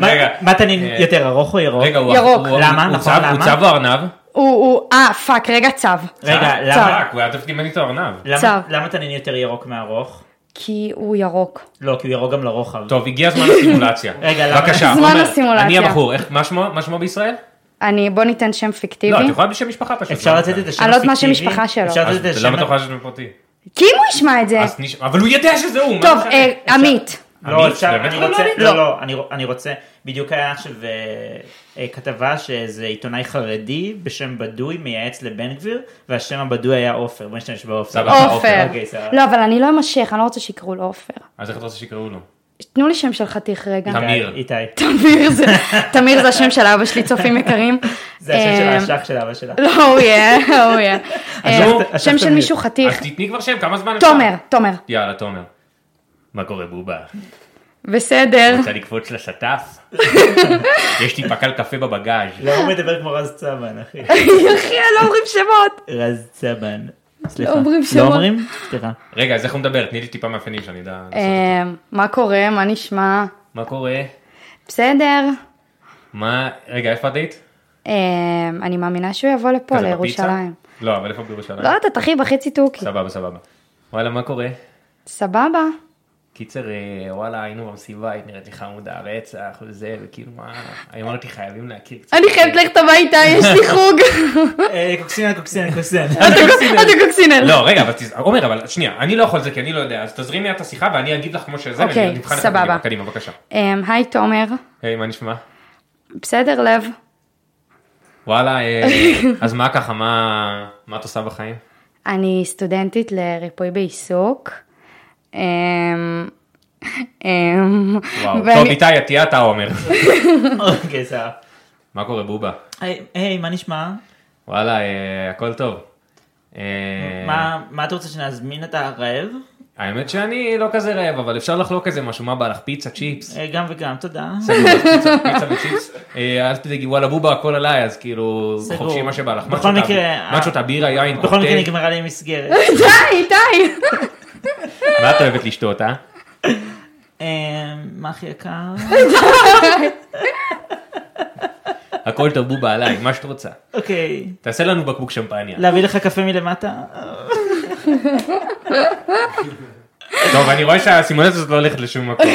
C: רגע.
A: מה תנין
C: אה,
A: יותר, ארוך או ירוק?
C: רגע, הוא...
B: ירוק.
C: הוא-
A: למה?
C: הוא
A: נכון,
C: צב-
A: למה?
C: הוא צב או ארנב?
B: הוא, הוא, אה, פאק, רגע צו.
A: רגע,
C: צב.
A: למה-
C: צב, הוא היה תפקיד מנית ארנב.
A: למה
B: צב.
A: למה תנין יותר ירוק מארוך?
B: כי הוא ירוק.
A: לא, כי הוא ירוק גם לרוחב.
C: טוב, הגיע זמן הסימולציה.
A: רגע, למה?
C: בבקשה,
B: זמן
C: עומר,
B: הסימולציה.
C: אני הבחור, איך, מה שמו, מה שמו בישראל?
B: אני, בוא ניתן שם פיקטיבי.
C: לא, את יכולה בשם משפחה פשוט.
A: אפשר
C: לא
A: לתת את
C: משנה.
A: השם
B: אני לא יודעת מה
A: הפיקטיבי?
B: שם משפחה שלו.
A: אפשר
C: אז
A: לתת את השם...
C: למה אתה יכולה שזה פרטי?
B: כי אם הוא ישמע את זה.
C: אז נש- אבל הוא יודע שזה הוא. מה
B: כן. טוב,
C: משנה?
B: אה, עמית.
A: לא,
C: עמית,
A: אפשר,
C: באמת
A: אני
C: לא
A: רוצה,
C: עמית?
A: לא, לא, אני רוצ- אני רוצה, בדיוק היה עכשיו אה, אה, כתבה שאיזה עיתונאי חרדי בשם בדוי מייעץ לבן גביר, והשם הבדוי היה עופר, בוא נשתמש בעופר.
C: סבבה. אה, עופר,
B: עופר.
A: אוקיי, סבבה.
B: לא, אבל אני לא אמשך, אני לא רוצה שיקראו לו עופר.
C: אז איך אתה רוצה שיקראו לו?
B: תנו לי שם של חתיך רגע.
C: תמיר.
A: איתי,
B: תמיר זה, תמיר זה השם של אבא שלי, צופים יקרים.
A: זה השם של
B: אה,
A: האשך של אבא שלה.
B: לא, הוא יהיה, הוא יהיה. אה,
A: נו, אז
B: שם של
A: תמיר.
B: מישהו חתיך.
C: אז תתני כבר שם, כמה זמן אפשר?
B: תומר, תומר.
C: יאללה, תומר. מה קורה בובה?
B: בסדר.
C: רוצה לקפוץ לשטף? יש לי פקל קפה בבגאז'.
A: לא, הוא מדבר כמו רז צבן, אחי.
C: אוקיי.
B: יחי, לא אומרים שמות.
A: רז צבן. סליחה.
B: אומרים
A: לא
B: שמות.
A: אומרים? סליחה.
C: רגע, אז איך הוא מדבר? תני לי טיפה מאפיינים שאני אדע. לעשות.
B: אה, מה קורה? מה נשמע?
C: מה קורה?
B: בסדר.
C: מה... רגע, איפה את היית?
B: אה, אני מאמינה שהוא יבוא לפה,
C: כזה בפיצה?
B: לירושלים.
C: לא, אבל איפה בירושלים?
B: לא יודעת, אחי, בחצי תוכי.
C: סבבה, סבבה. וואלה, מה קורה?
B: סבבה.
C: קיצר, אה, וואלה, היינו במסיבה, היית נראית לי חמודה, רצח וזה, וכאילו, מה... אני אמרתי, חייבים להכיר קצת.
B: אני חייבת ללכת הביתה, יש לי חוג.
A: אה, קוקסינל, קוקסינל, קוקסינל.
B: אתה קוקסינל.
C: לא, רגע, אבל תז... עומר, אבל שנייה, אני לא יכול זה כי אני לא יודע, אז תזרימי את השיחה ואני אגיד לך כמו שזה,
B: אוקיי,
C: ואני נבחן את
B: סבבה.
C: הקדימה. קדימה, בבקשה.
B: אמ, היי תומר,
C: היי, מה נשמע?
B: בסדר לב?
C: וואלה, אה, אז מה ככה, מה מה את עושה בחיים?
B: אני סטודנטית לריפוי בעיסוק. אמ, אמ,
C: וואו,
B: ואני-
C: טוב, איתי, את תהיה אתה עומר.
A: אוקיי, סבבה.
C: מה קורה, בובה?
A: היי, היי, מה נשמע?
C: וואלה, אה, הכל טוב. אה,
A: מה מה אתה רוצה שנזמין את הרעב?
C: האמת שאני לא כזה רעב, אבל אפשר לחלוק איזה משהו, מה בא לך? פיצה, צ'יפס?
A: אה, גם וגם, תודה.
C: סגור, אז פיצה פיצה וצ'יפס. אה, אל תדאגי, וואלה, בובה, הכל עליי, אז כאילו,
A: סגור.
C: חופשי מה שבא לך.
A: בכל
C: מצ'וטה,
A: מקרה,
C: מצ'וטה, בירה, יין,
A: בכל מקרה
C: קוקטייל.
A: נגמרה לי מסגרת.
B: די, די.
C: מה את אוהבת לשתות, אה?
A: אה, מה הכי יקר?
C: הכל טוב בובה עליי, מה שאת רוצה.
A: אוקיי.
C: תעשה לנו בקבוק שמפניה.
A: להביא לך קפה מלמטה?
C: טוב, אני רואה שהסימולת הזאת לא הולכת לשום מקום.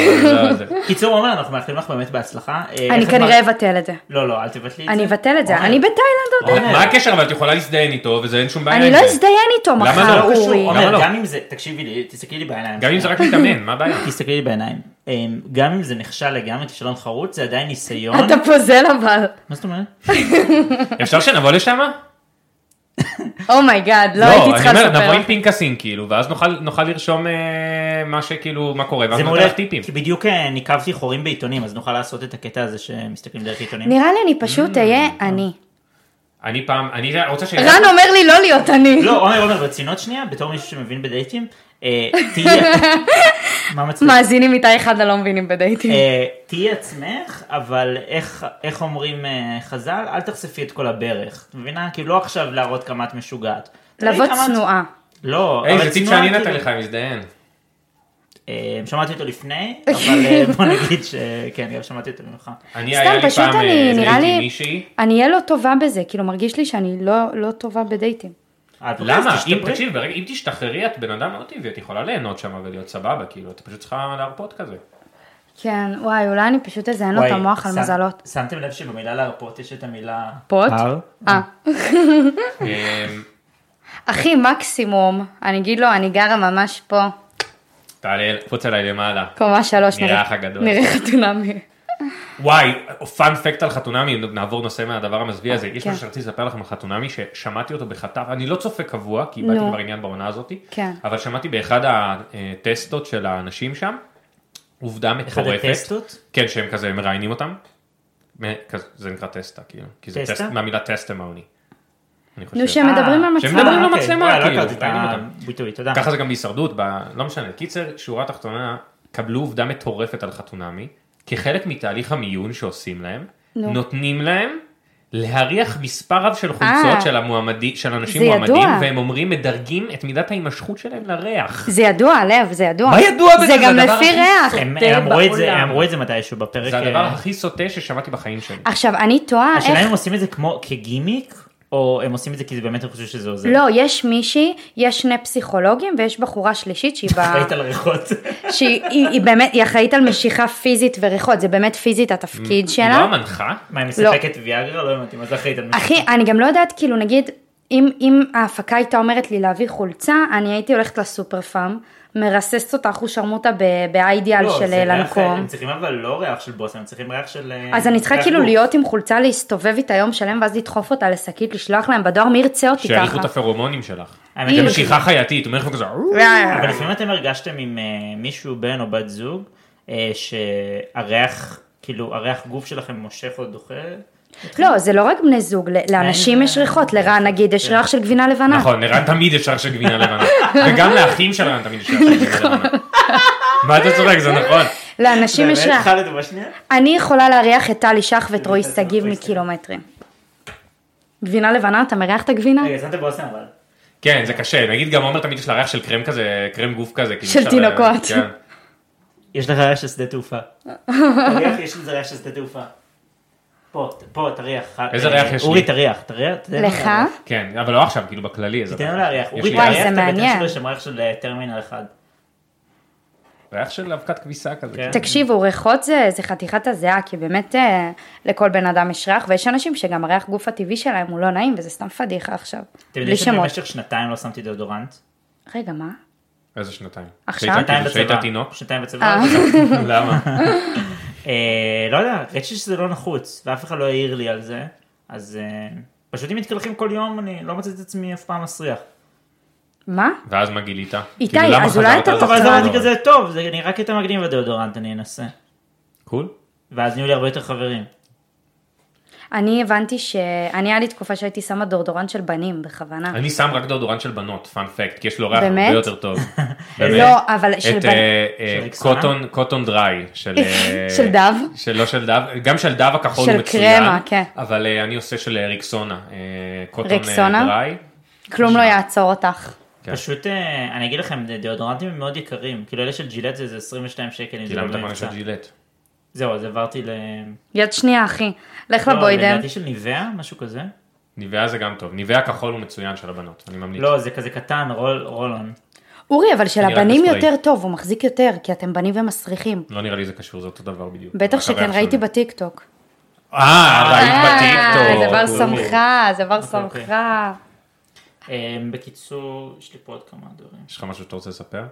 C: לא, זה-
A: קיצור, עומר, אנחנו מאחלים לך באמת בהצלחה. אה, איך
B: אני
A: את
B: כנראה
A: מרג-
B: אבטל את זה.
A: לא, לא, אל תבטלי את זה. אוקיי.
B: אני אבטל את זה,
C: אוקיי.
A: עומר.
B: אני בתאילנד עוד.
A: עומר.
C: מה הקשר? אבל את יכולה להזדיין איתו, וזה אין שום בעיה
B: אני
C: עם
B: לא
C: זה.
B: אזדיין איתו
C: למה זה
B: מחר,
C: לא קשור?
B: אורי.
C: למה
A: עומר,
C: לא?
A: גם אם זה, תקשיבי לי, תסתכלי לי בעיניים.
C: גם אם זה רק מתאמן, מה הבעיה?
A: תסתכלי לי בעיניים. אה, גם אם זה נכשל לגמרי כישלון חרוץ, זה עדיין ניסיון.
C: לא?
B: אתה פוזל אבל.
A: מה זאת אומרת?
C: אפשר שנבוא לשם?
B: אומייגאד, לא הייתי צריכה
C: אני אומר, נבוא
B: לספר.
C: עם פנקסים, כאילו, ואז נוכל- נוכל לרשום אה, מה שכאילו, מה קורה, ואז
A: זה
C: נותן
A: מעולה,
C: לך טיפים.
A: כי בדיוק אה, ניקבתי חורים בעיתונים, אז נוכל לעשות את הקטע הזה שמסתכלים דרך עיתונים.
B: נראה לי אני
C: Mm.
B: פשוט אהיה אני.
C: אוקיי. אני פעם, אני רוצה ש...
B: רן אומר לי לא להיות אני.
A: לא, עומר, עומר, ברצינות שנייה, בתור מישהו שמבין בדייטים, אה, תהיי... מה מצחיק?
B: מאזינים איתי אחד הלא מבינים בדייטים.
A: אה, תהיי עצמך, אבל איך- איך אומרים אה, חז"ל? אל תחשפי את כל הברך. את מבינה? כאילו לא עכשיו להראות כמה את משוגעת. תראי
B: לבוא
A: כמה את-
B: צנועה.
A: לא,
C: היי,
A: אבל
C: זה טיפ
A: צנועה,
C: שאני נתן
A: כאילו-
C: לך, מזדיין.
A: אה, שמעתי אותו לפני, אבל אה, בוא נגיד שכן, גם שמעתי אותו ממך.
C: אני,
B: סתם,
C: היה לי
B: פשוט
C: פעם,
B: אני-
C: אה,
B: נראה
C: ראיתי
B: לי-
C: מישהי.
B: אני אהיה לא טובה בזה, כאילו מרגיש לי שאני לא- לא טובה בדייטים.
A: אה, את
B: אוקיי,
A: רוצה,
C: למה?
A: אז
C: אם
A: תשתפרי.
C: תקשיב, ברגע- אם תשתחררי, את בן אדם מאוד טבעי, את יכולה ליהנות שם ולהיות סבבה, כאילו, את פשוט צריכה להרפות כזה.
B: כן, וואי, אולי אני פשוט אזיין לו את
A: וואי,
B: המוח על
A: שם-
B: מזלות.
A: שמתם לב שבמילה להרפות יש את המילה...
B: פוט?
A: הר?
B: אה.
C: אמ,
B: אחי, מקסימום, אני אגיד לו, אני גרה ממש פה,
C: תעלה, קפוץ עליי למעלה.
B: קומה שלוש,
C: נראה
B: נראה-
C: אח הגדול.
B: נראה חתונמי.
C: וואי, פאנפקט על חתונמי, אם נעבור נושא מהדבר המזוויע הזה. יש
B: כן.
C: משהו שרציתי לספר לכם על חתונמי, ששמעתי אותו בחטף, אני לא צופה קבוע, כי איבדתי
B: נו.
C: כבר עניין בעונה הזאת,
B: כן.
C: אבל שמעתי באחד הטסטות של האנשים שם, עובדה
A: אחד
C: מטורפת.
A: הטסטות?
C: כן, שהם כזה מראיינים אותם. מ- כזה- זה נקרא טסטה, כאילו. כי זה
A: טסטה?
C: טסט מהמילה טסטמוני. אני חושב.
B: נו, שמדברים
A: אה,
B: על מצלמה.
C: שמדברים על
A: אוקיי,
C: מצלמה,
A: וואי, לא
C: כאילו,
A: הכרתי את
C: מעניין
A: הביטוי, תודה.
C: ככה זה גם בהישרדות, ב... לא משנה. קיצר, שורה תחתונה, קבלו עובדה מטורפת על חתונמי, כחלק מתהליך המיון שעושים להם,
B: נו.
C: נותנים להם להריח מספר רב של חולצות
B: אה.
C: של, המועמדי, של אנשים
B: זה
C: מועמדים,
B: ידוע.
C: והם אומרים, מדרגים את מידת ההימשכות שלהם לריח.
B: זה ידוע, לב, זה ידוע.
C: מה ידוע בזה?
B: זה
C: זה
B: גם
C: הדבר
B: לפי
C: הכי
B: ריח.
A: הם
C: סוטה
A: הם אמרו את זה,
C: בעולם.
A: הם אמרו את זה מתישהו בפרק.
C: זה הדבר
A: אה,
C: הכי סוטה ששמעתי בחיים שלי.
B: עכשיו, אני תוהה
A: השאלה אם
B: אה, איך...
A: הם עושים את זה כמו כגימיק, או הם עושים את זה כי זה באמת הם חושבים שזה עוזר.
B: לא, יש מישהי, יש שני פסיכולוגים ויש בחורה שלישית שהיא ב...
A: ראית על ריחות.
B: שהיא היא- היא באמת, היא אחראית על משיכה פיזית וריחות, זה באמת פיזית התפקיד
C: לא
B: שלה.
C: המנחה?
A: מה, היא מספקת ויאגרה? לא הבנתי, מה זה אחראית על מישהו?
B: אחי, אני גם לא יודעת, כאילו, נגיד, אם, אם ההפקה הייתה אומרת לי להביא חולצה, אני הייתי הולכת לסופר פארם, מרססת אותה אחושרמוטה ב- באידיאל
A: לא,
B: של אה,
A: זה ריח,
B: לנקום.
A: הם צריכים אבל לא ריח של בושם, הם צריכים ריח של... אה,
B: אז אני צריכה
A: ריח
B: כאילו
A: גוף.
B: להיות עם חולצה להסתובב איתה יום שלם ואז לדחוף אותה לשקית, לשלוח להם בדואר, מי ירצה אותי
C: שיעריכו
B: ככה?
C: את הפרומונים שלך.
A: האמת,
B: היא-
C: זה
A: אבל-
C: משיכה חייתית, אומר לך כזה, "אוו".
B: לא,
A: אבל לפעמים אתם הרגשתם עם אה, מישהו, בן או בת זוג, אה, שהריח, כאילו, הריח גוף שלכם מושך או דוחה?
B: לא, זה לא רק בני זוג, ל- לאנשים
A: אין-
B: יש ריחות, לרן נגיד יש ריח של גבינה לבנה.
C: נכון, לרן תמיד יש ריח של גבינה לבנה. וגם לאחים של רן תמיד יש ריח של גבינה לבנה. מה אתה צוחק, זה נכון.
B: לאנשים יש
A: באמת,
B: ריח.
A: חלד ובשנייה?
B: אני יכולה להריח את טלי שח ואת רועי
A: טלי שח,
B: שגיב
A: רועי שגיב.
B: מקילומטרים. גבינה לבנה, אתה מריח את הגבינה?
A: רגע, שמת בושם אבל.
C: כן, זה קשה, נגיד גם עומר תמיד יש לה ריח של קרם כזה, קרם גוף כזה. כאילו
B: של
C: אפשר-
B: תינוקות.
C: כן.
A: יש לך ריח של שדה תעופה. תריח, יש לזה ריח של שדה תעופה. פה, פה, תריח. אה,
C: איזה ריח יש לי?
A: אורי, תריח, תריח. תן לו
B: לך?
A: להריח.
C: כן, אבל לא עכשיו, כאילו בכללי. איזה
A: תן לו
C: ריח.
A: להריח.
C: יש
A: אורי,
C: לי
B: וואי,
A: תריח,
B: זה
A: את הבטן
B: מעניין.
A: שלו, יש שם ריח של אה, טרמינל אחד.
C: ריח של אבקת כביסה כזה.
A: כן.
B: תקשיבו, ריחות זה, זה חתיכת הזיעה, כי באמת אה, לכל בן אדם יש ריח, ויש אנשים שגם הריח גוף הטבעי שלהם הוא לא נעים, וזה סתם פדיחה עכשיו.
A: אתם
B: בלי
A: יודעים
B: שמות.
A: שבמשך שנתיים לא שמתי דאודורנט?
B: רגע, מה?
C: איזה שנתיים.
B: עכשיו?
C: שהיית-
A: שנתיים בצבא.
C: שהיית תינוק?
A: שנתיים בצבא.
B: אה.
C: למה?
A: אה, לא יודע, ראיתי שזה לא נחוץ, ואף אחד לא העיר לי על זה, אז אה, פשוט אם מתקלחים כל יום, אני לא מוצא את עצמי אף פעם מסריח.
B: מה?
C: ואז מה גילית?
B: איתי,
C: כאילו, למה
B: אז אולי
C: חזרת
B: אתה
C: על זה?
A: אבל אז
B: תחזור.
A: אמרתי כזה, טוב, זה נראה קטע מגניב הדאודורנט, אני אנסה.
C: קול.
A: ואז נהיו לי הרבה יותר חברים.
B: אני הבנתי ש... אני, היה לי תקופה שהייתי שמה דורדורן של בנים, בכוונה.
C: אני שם רק דאודורנט של בנות, פאנפקט, כי יש לו ריח הרבה
B: באמת?
C: יותר טוב. באמת.
B: לא, אבל של
C: את
B: בנים.
C: אה, אה,
A: של ריקסונה?
C: קוטון, קוטון דריי, של... אה,
B: של דב?
C: של לא של דב, גם של דב הכחול
B: של
C: הוא מצוין.
B: קרמה, כן.
C: אבל אה, אני עושה של אה, ריקסונה, אה, קוטון
B: ריקסונה?
C: אה, דריי.
B: כלום לא יעצור אותך.
C: כן.
A: פשוט, אה, אני אגיד לכם, דאודורנטים הם מאוד יקרים, כאילו אלה של ג'ילט זה איזה 22 שקל, אם זה
C: גילמת
A: לא
C: מנה של
A: מבצע.
C: ג'ילט.
A: זהו, אז עברתי ל...
B: יד שנייה, אחי. לך
A: לא,
B: לבוידן.
A: לדעתי של ניבea, משהו כזה.
C: ניבאה זה גם טוב, ניבאה כחול הוא מצוין של הבנות, אני ממליץ.
A: לא, זה כזה קטן, רול- רול-און.
B: אורי, אבל של
C: אני רק
B: הבנים
C: בספרי.
B: יותר טוב, הוא מחזיק יותר, כי אתם בנים ומסריחים.
C: לא נראה לי זה קשור, זה אותו דבר בדיוק. רק
B: בטח
C: הריח
B: שכן,
C: שונה.
B: ראיתי בטיקטוק.
C: אה, ראית
B: אה,
C: בטיקטוק.
B: זה בר
C: אוקיי.
B: סמכה, זה בר
A: אוקיי, אוקיי.
B: סמכה.
A: אה, בקיצור, יש לי פה עוד כמה דברים.
C: יש לך משהו שאתה רוצה לספר?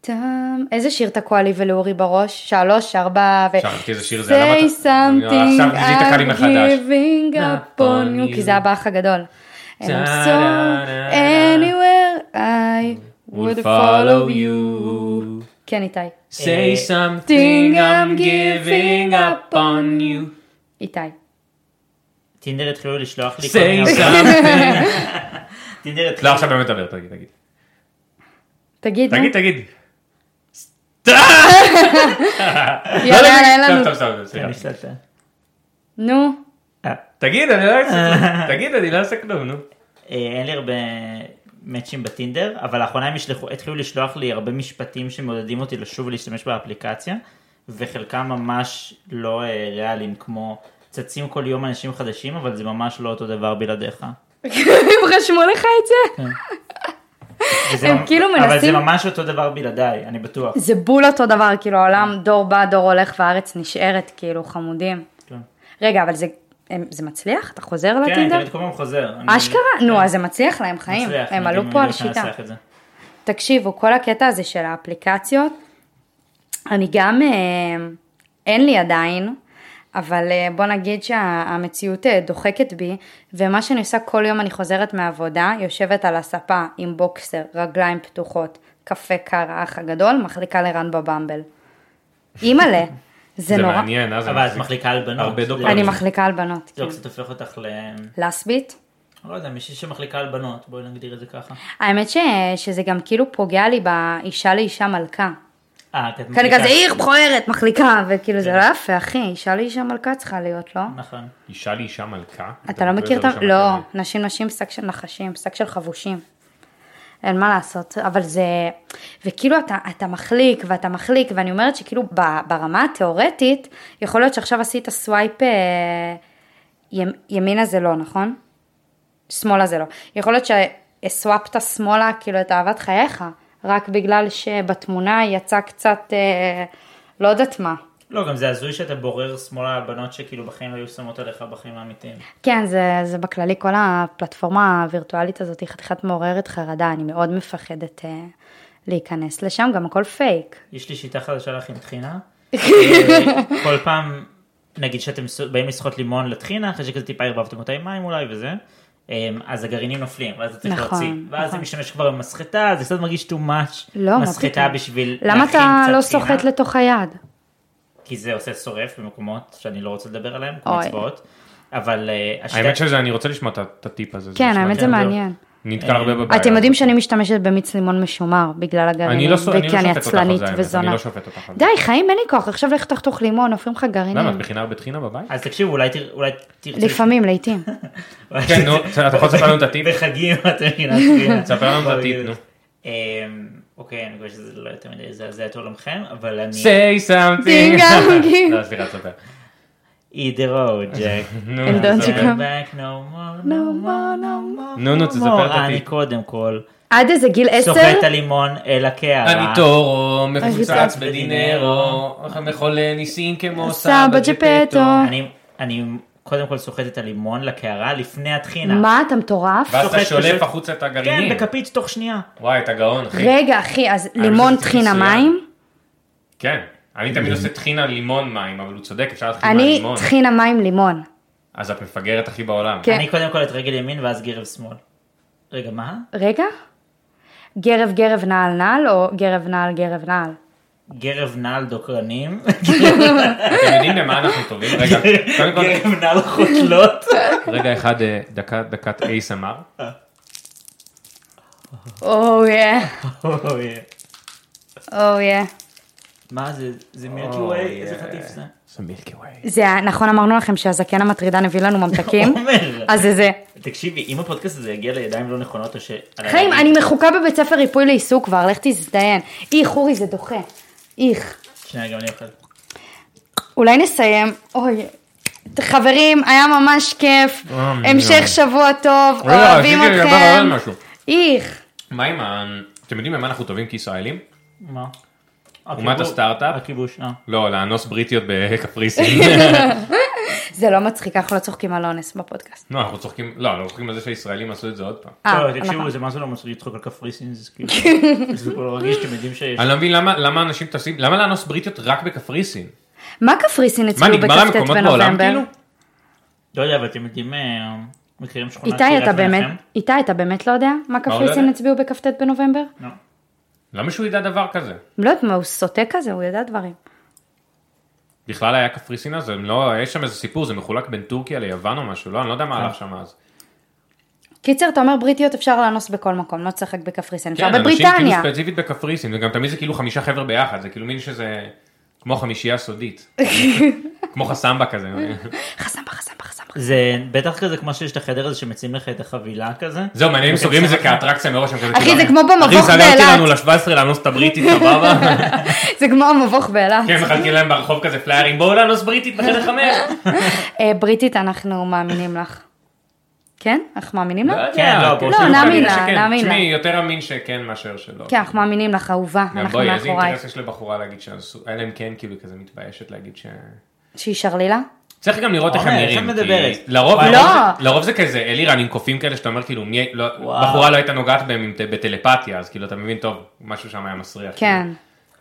B: טאם, איזה שיר תקוע לי ולאורי בראש? שלוש, ארבע, ו...
C: שכחתי איזה שיר זה, למה אתה-
B: Say something,
C: עכשיו ניסית כאן לי
B: I'm
C: מחדש.
B: giving up on you, כי זה הבאח הגדול. And I'm so
C: טה-דה-דה.
B: anywhere I would follow you.
C: you.
B: כן, איתי.
A: Say
B: something, I'm giving up on you. איתי.
A: טינדר התחילו לשלוח לי כל מיני...
C: Say
A: הודעות.
C: something.
A: טינדר התחילו...
C: לא, עכשיו באמת תדבר, תגיד, תגיד.
B: תגיד, נו.
C: תגיד, תגיד.
B: יאללה,
C: לא,
B: יאללה, אין
C: סתם,
B: לנו.
C: סתם, סתם, סליחה.
A: כן, אני אשתלטה.
B: נו.
A: אה,
C: תגיד, אני לא אעשה תגיד, אני לא אעשה כלום, נו.
A: אה, אין לי הרבה מאצ'ים בטינדר, אבל לאחרונה הם ישלחו- התחילו לשלוח לי הרבה משפטים שמעודדים אותי לשוב ולהשתמש באפליקציה, וחלקם ממש לא אה, ריאליים, כמו צצים כל יום אנשים חדשים, אבל זה ממש לא אותו דבר בלעדיך.
B: הם רשמו לך את זה?
A: וזה
B: הם
A: ממ-
B: כאילו
A: אבל זה
B: מנסים-
A: ממש אותו דבר בלעדיי, אני בטוח.
B: זה בול אותו דבר, כאילו העולם דור בא, דור הולך והארץ נשארת, כאילו חמודים.
A: כן.
B: רגע, אבל זה הם- זה מצליח? אתה חוזר
A: כן, אני
B: לטינדר?
A: תמיד כל פעם חוזר. אני
B: אשכרה? נו, אז זה מצליח להם חיים,
A: מצליח,
B: הם
A: אני
B: עלו
A: גם
B: פה
A: יודע
B: על שיטה.
A: לנסח את זה.
B: תקשיבו, כל הקטע הזה של האפליקציות, אני גם, אה, אין לי עדיין, אבל אה, בוא נגיד שהמציאות אה, דוחקת בי, ומה שאני עושה כל יום אני חוזרת מהעבודה, יושבת על הספה עם בוקסר, רגליים פתוחות, קפה קר, האח הגדול, מחליקה לרן בבמבל. אימא'לה, זה
C: זה
B: נורא.
C: מעניין, אז
A: אבל
C: אני
A: את מחליקה על בנות.
C: הרבה דופמין.
B: אני
C: זה-
B: מחליקה על בנות,
A: לא, זה
B: כן.
A: קצת הופך אותך ל...
B: לסבית?
A: לא יודע, מישהי שמחליקה על בנות, בואי נגדיר את זה ככה.
B: האמת ש, שזה גם כאילו פוגע לי באישה לאישה מלכה.
A: אה, כי את מחליקה.
B: כאן כזה עיר מכוערת, מחליקה, וכאילו זה לא יפה, אחי, אישה לאישה מלכה צריכה להיות, לא?
A: נכון.
C: אישה לאישה מלכה?
B: אתה לא
C: מדבר
B: מכיר את
C: איתו
B: ה...
C: בשם
B: לא,
C: הכללי.
B: נשים נשים שק של נחשים, שק של חבושים. אין מה לעשות, אבל זה... וכאילו אתה, אתה מחליק ואתה מחליק, ואני אומרת שכאילו ב- ברמה התיאורטית, יכול להיות שעכשיו עשית סווייפ אה, ימ, ימינה זה לא, נכון? שמאלה זה לא. יכול להיות שהסוואפת שמאלה כאילו את אהבת חייך, רק בגלל שבתמונה יצא קצת אה, לא יודעת מה.
A: לא, גם זה הזוי שאתה בורר שמאלה בנות שכאילו בחיים לא היו שמות עליך בחיים האמיתיים.
B: כן, זה, זה בכללי, כל הפלטפורמה הווירטואלית הזאת היא חתיכת מעוררת חרדה, אני מאוד מפחדת אה, להיכנס לשם, גם הכל פייק.
A: יש לי שיטה חדשה לך עם טחינה. אה, כל פעם, נגיד שאתם ס- באים לשחות לימון לטחינה, אחרי שכזה טיפה ערבבתם אותה עם מים אולי וזה, אה, אז הגרעינים נופלים, ואז אתה צריך
B: נכון,
A: להוציא. ואז
B: נכון.
A: זה משתמש כבר במסחטה, זה קצת מרגיש too much.
B: לא, מה
A: מסחטה
B: פתאום.
A: בשביל
B: למה
A: להכין
B: אתה
A: קצת
B: לא
A: טחינה,
B: סוחט לתוך היד?
A: כי זה עושה שורף במקומות שאני לא רוצה לדבר עליהם, כמו
B: אוי.
A: אצבעות. אבל אה,
C: האמת
A: השיטה...
C: שזה, אני רוצה לשמוע את ה- את הטיפ הזה.
B: כן,
C: נשמע
B: האמת זה
A: כן,
B: מעניין.
C: נתקע הרבה
A: אתם
C: בבעיה.
B: אתם יודעים שאני משתמשת במיץ לימון משומר בגלל
C: לא, אני
B: הגרעינים,
C: לא שו- אני לא
B: וכי אני
C: שופט אותך על
B: עצלנית
C: זה, האמת,
B: וזונה.
C: אני לא שופט אותך על זה.
B: די, חיים, אין לי כוח, עכשיו לך תחתוך לימון, עופרים לך
C: למה, את
B: גרעינים.
C: מכינה הרבה טחינה בבית?
A: אז תקשיבו, אולי תר- אולי תרצו...
B: לפעמים, לעיתים.
C: כן, נו, אתה יכול לספר לנו את הטיפ?
A: בחגים אתם מבינים.
C: ספר לנו את הטיפ, נו.
A: אוקיי, אני מקווה שזה לא יותר מדי יזעזע את עולמכם, אבל אני...
C: say something.
B: Ding-a-ding.
C: לא, סליחה, תספר.
A: eat the road, Jack.
C: נו,
B: And don't
C: זה-
B: you come.
A: back no more, no more, no more.
C: נו, נו, תספר
A: more.
C: את הטיפ.
A: אני קודם כל,
B: עד איזה גיל
A: סוחט
B: עשר?
A: את הלימון אל הקערה.
C: אני טורו,
B: מפוצץ
C: מפוצץ
A: בדינרו,
C: בדינרו, מחולל ניסים כמו
B: סבא
C: סבא
B: ג'פטו.
C: ג'פטו.
A: אני- אני קודם כל סוחט את הלימון לקערה לפני הטחינה.
B: מה, אתה מטורף?
C: ואז אתה
A: סוחט
C: שולף
A: פשוט.
C: החוצה את
A: כן,
C: הגרעינים.
A: בכפית תוך שנייה.
C: וואי, אתה גאון, אחי.
B: רגע, אחי, אז לימון,
C: שזה
B: טחינה,
C: מצוין.
B: מים?
C: כן. אני תמיד עושה טחינה לימון מים, אבל הוא צודק, אפשר להתחיל
B: אני
C: מהלימון.
B: טחינה, מים, לימון.
C: אז את מפגרת הכי בעולם.
B: כן.
A: אני קודם כל את רגל ימין ואז גרב שמאל. רגע, מה?
B: רגע? גרב, גרב, נעל, נעל, או גרב, נעל, גרב, נעל?
A: גרב נעל דוקרנים,
C: אתם יודעים למה אנחנו טובים? רגע,
A: כן.
C: קודם כל,
A: גרב נעל חותלות.
C: רגע אחד, אה, דקה, דקת אייס אמר. Oh,
B: אוי,
A: אוי.
B: אוי.
A: מה זה, זה מילקי ווי? איזה חטיף זה?
C: זה מילקי ווי.
B: זה, נכון אמרנו לכם שהזקן המטרידן הביא לנו ממתקים?
A: עומר.
B: כן. אז זה זה.
A: תקשיבי, אם הפודקאסט הזה יגיע לידיים לא נכונות או ש...
B: חיים, אני מחוקה בבית ספר ריפוי לעיסוק כבר, לך תזדיין. איך, אורי, זה דוחה. איך.
A: שנייה, גם אני אוכל.
B: אולי נסיים. אוי. חברים, היה ממש כיף.
C: אה,
B: המשך
C: אה.
B: שבוע טוב,
C: רגע,
B: אוהבים
C: רציתי לדבר
B: אתכם.
C: על משהו.
B: איך.
C: מה עם ה... אתם יודעים למה אנחנו טובים כישראלים?
A: מה?
C: אומת הסטארט-אפ?
A: הכיבוש, אה.
C: לא, לאנוס בריטיות בקפריסין.
B: זה לא מצחיק, אנחנו לא צוחקים על אונס בפודקאסט.
C: לא, אנחנו צוחקים, לא, אנחנו צוחקים על זה שהישראלים עשו את זה עוד פעם.
B: אה,
A: לא, תקשיבו,
B: נכון.
A: זה מה זה לא מצחיק לצחוק על קפריסין, זה כאילו... זה כל הרגיש, אתם יודעים שיש...
C: אני לא מבין למה למה אנשים טסים, למה לאנוס בריטיות רק בקפריסין?
B: מה קפריסין
C: מה,
B: הצביעו
C: נגמר
B: בכ"ט
C: המקומות בעולם
B: בנובמבר?
C: כאילו?
A: לא יודע, אבל אתם יודעים... אה, מכירים שכונה
B: איתי, אתה
A: קריית
B: באמת,
A: מנחם?
B: איתי, אתה באמת לא יודע מה
C: לא
B: קפריסין
C: יודע?
B: הצביעו בכ"ט בנובמבר?
A: לא.
C: למה שהוא ידע דבר כזה?
B: לא יודעת מה, הוא סוטה כזה, הוא יודע דברים.
C: בכלל היה קפריסין אז, הם לא, יש שם איזה סיפור, זה מחולק בין טורקיה ליוון או משהו, לא, אני לא יודע מה הלך
B: כן.
C: שם אז.
B: קיצר, אתה אומר בריטיות אפשר לאנוס בכל מקום, לא צריך רק בקפריסין, אפשר
C: כן, אנשים כאילו
B: בבריטניה.
C: ספציפית בקפריסין, וגם תמיד זה כאילו חמישה חבר'ה ביחד, זה כאילו מין שזה כמו חמישייה סודית. כמו חסמבה כזה.
B: חסמבה, חסמבה, חסמבה.
A: זה בטח כזה כמו שיש את החדר הזה שמציעים לך את החבילה כזה.
C: זהו, מעניין אם סוגרים את זה כאטרקציה מראש. הם כזה
B: אחי,
C: כאילו,
B: זה כמו במבוך
C: אחי, סגרתי
B: באילת."
C: לנו ל-17 לאנוס את הבריטית, סבבה?
B: זה כמו המבוך באילת.
C: כן, מחלקים להם ברחוב כזה פליירים, בואו לאנוס בריטית בחדר חמש.
B: אה, בריטית, אנחנו מאמינים לך. כן? אנחנו מאמינים לך?
C: לא יודע,
A: כן, לא,
C: כאילו,
A: לא,
C: כאילו,
B: נאמין
C: כנראה
B: לה,
C: שכן.
B: נאמין
C: תשמעי,
B: לה.
C: יותר אמין שכן מאשר שלא.
B: כן, אנחנו מאמינים לך, אהובה,
C: גם
B: אנחנו
C: בואי, איזה
B: מאחורייך.
C: אינטרס יש לבחורה להגיד שאסור, אלא אם כן, כאילו, כזה מתביישת להגיד ש...
B: שהיא שרלילה?
C: צריך גם לראות איך הם
A: עומר, איך
C: נראים,
A: את מדברת?
C: כי לרוב,
A: וואי,
C: לרוב
B: לא.
C: זה- לרוב זה כזה אלירן עם קופים כאלה שאתה אומר כאילו, מי- לא-
A: וואו.
C: בחורה לא הייתה נוגעת בהם עם ט- בטלפתיה, אז כאילו אתה מבין טוב, משהו שם היה מסריח. כאילו.
B: כן,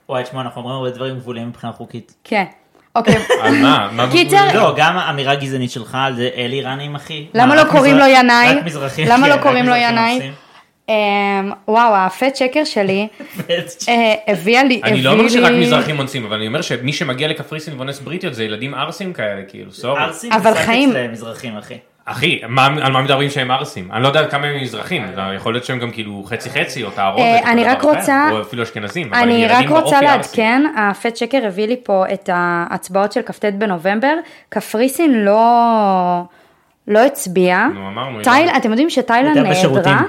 A: וואי, תשמע, אנחנו אומרים הרבה דברים גבוליים מבחינה חוקית.
B: כן. אוקיי,
C: כאילו. על מה? מה-
B: קיצר,
A: לא, גם אמירה גזענית שלך על זה אלי רנים אחי.
B: למה
A: מה,
B: לא
A: רק
B: קוראים לו
A: מזרח-
B: ינאי?
A: רק מזרחים.
B: למה
A: כן,
B: לא
A: רק
B: קוראים לו
A: מזרחים
B: ינאי?
A: עושים.
B: אמ, וואו, הפט שקר שלי אה, הביאה לי,
C: אני לא
B: הביא
C: אומר שרק
B: לי-
C: מזרחים אונסים, אבל אני אומר שמי שמגיע לקפריסין ואונס בריטיות זה ילדים ערסים כאלה, כאילו, סורי.
A: ערסים
B: אה, אבל
A: זה
B: חיים-
A: סטטוס למזרחים, אחי.
C: אחי, מה- על מה מדברים שהם ערסים? אני לא יודע כמה הם מזרחים,
A: אה.
C: אבל יכול להיות שהם גם כאילו חצי חצי או טהרות.
B: אה,
C: או כל
B: אני
C: דבר
B: רק
C: אחר,
B: רוצה-
C: או אפילו אשכנזים, אבל הם
B: אני רק
C: ילדים
B: רוצה
C: באופי לא ערסים.
B: לעדכן, הפט שקר הביא לי פה את ההצבעות של כ"ט בנובמבר, קפריסין לא... לא הצביעה.
C: נו, אמרנו, לא
B: תאיל...
C: אילן.
B: אתם יודעים שתאילנד
A: הייתה בשירותים.
B: נעדרה?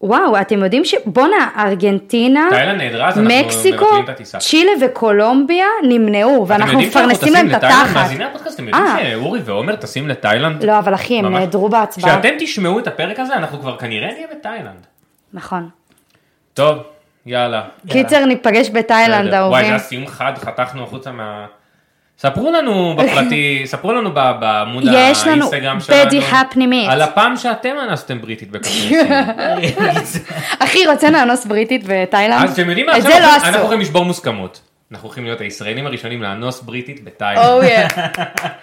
B: וואו, אתם יודעים ש... בואנה, ארגנטינה,
C: תאילנד נהדרה, אז אנחנו
B: מקסיקו,
C: מבטלים את הטיסה.
B: צ'ילה וקולומביה נמנעו, ואנחנו מפרנסים להם את התחת.
C: מאזיני הפודקאסט, אתם יודעים
B: אה.
C: שאורי ועומר טסים לתאילנד?
B: לא, אבל אחי, הם
C: ממש.
B: נעדרו בהצבעה.
C: כשאתם תשמעו את הפרק הזה, אנחנו כבר כנראה נהיה בתאילנד.
B: נכון.
C: טוב, יאללה.
B: קיצר, ניפגש בתאילנד,
C: בסדר. וואי, זה
B: אהובים.
C: היה סיום חד, חתכנו החוצה מה... ספרו לנו בפרטי, ספרו לנו ב- בעמוד
B: יש לנו
C: האינסטגרם שלנו.
B: בדי הפנימית.
C: על הפעם שאתם אנסתם בריטית בקפריסין.
B: כן. אחי, רוצה לאנוס בריטית בתאילנד?
C: אז אתם יודעים מה,
B: את זה
C: עכשיו
B: לא
C: אנחנו- אנחנו
B: עשו.
C: הולכים לשבור מוסכמות. אנחנו הולכים להיות הישראלים הראשונים לאנוס בריטית בתאילנד.
B: Oh yeah.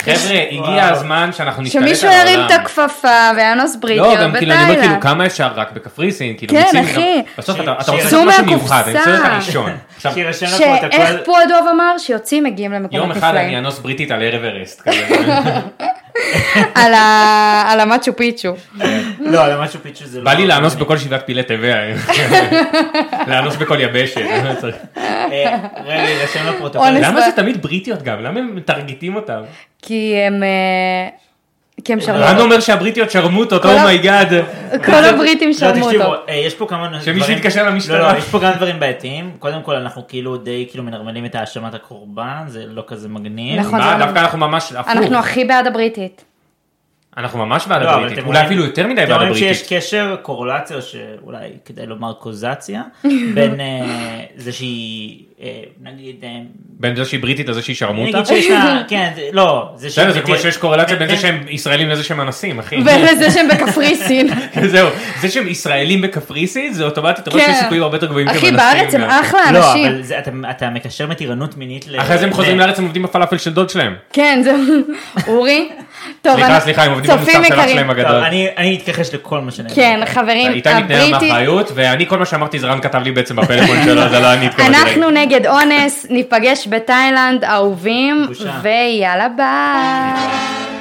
C: חבר'ה,
A: וואו.
C: הגיע הזמן שאנחנו נשתלט על העולם.
B: אוקיי. שמישהו ירים את הכפפה ויאנוס בריטיות
C: לא, גם כאילו, אני אומר כאילו,
B: בתאילנד.
C: כמה אפשר רק בקפריסין, כאילו,
B: כן,
C: מיצים,
B: אחי.
C: גם- בסוף
A: ש-
C: אתה אתה
A: ש-
C: רוצה
A: צאו
C: לעשות משהו
B: מהקופסה.
C: מיוחד, אני רוצה להיות הראשון. עכשיו,
A: שירשם
B: ש-
A: לפרוטוקול.
B: איך פועדוב אמר? שיוצאים מגיעים למקומות
C: יום אחד אני
B: נפלאים.
C: אנוס בריטית על ערב ארסט, כזה. כן?
B: על ה- על המצ'ו פיצ'ו.
A: לא, על משהו פיצ'ו זה לא...
C: בא לי לאנוס בכל שבעת פילי טבע, לאנוס בכל יבשת.
A: אה, רגע, יירשם לפרוטוקול.
B: אונס.
C: למה זה תמיד בריטיות גם? למה הם מטרגטים אותם?
B: כי הם... אה, כי הם
C: רן
B: שרמו.
C: אומר שהבריטיות "Oh שרמוטות,
B: לא. כל ה- נכון,
C: אומייגאד.
B: כל הבריטים
A: לא,
B: שרמו
A: תקשיבו,
B: אותו.
A: אה, יש פה כמה דברים...
C: שמישהו יתקשר למשטרה.
A: לא, לא, יש פה גם דברים בעייתיים. קודם כל, אנחנו כאילו די כאילו מנרמלים את האשמת הקורבן, זה לא כזה מגניב.
B: נכון.
C: מה,
B: זה
C: דווקא אנחנו ממש
B: אנחנו
C: הפוך.
B: הכי בעד הבריטית.
C: אנחנו ממש בעד
A: לא, אבל
C: הבריטית,
A: אתם
C: אולי
A: אומרים-
C: אפילו יותר מדי
A: אתם
C: בעד
A: אומרים
C: הבריטית.
A: שיש קשר, קורלציה, או שאולי כדאי לומר קוזציה, בין אה, זה שהיא, אה, נגיד, אה,
C: בין זה שהיא בריטית לזה שהיא שרמוטה.
A: נגיד שיש לה, כן, זה- לא, זה
C: בסדר, זה
A: שהיא- אה,
C: כמו שיש קורלציה בין זה
A: אין-
C: שהם ישראלים לזה שהם אנסים, אחי.
B: ולזה שהם בקפריסין.
C: זהו, זה שהם ישראלים בקפריסין זה אוטומטית, אבל
B: כן.
C: שיש סיכויים הרבה יותר גבוהים שהם
B: אחי,
C: אנסים.
B: בארץ הם
C: גם.
B: אחלה
A: לא, אבל
B: אה, אנשים.
A: זה- אתה- אתה מקשר מתירנות מינית ל...
C: אחרי זה הם חוזרים
A: ל-
C: לארץ, הם עובדים בפלאפל של דוד שלהם.
B: כן, זהו. אורי? טוב,
C: סליחה,
B: אני-
C: סליחה, הם עובדים
B: צופים
C: במוסף של אח
B: יקרים.
C: שלהם
A: טוב,
C: הגדול.
A: אני אני אתכחש לכל מה שנאמר.
B: כן, חברים,
C: איתי מתנער מאחריות, ואני כל מה שאמרתי זה רן כתב לי בעצם בפלאפון שלו, זה לא אני התכוונתי.
B: אנחנו נגד אונס, ניפגש בתאילנד, אהובים,
A: בושה.
B: ויאללה ביי.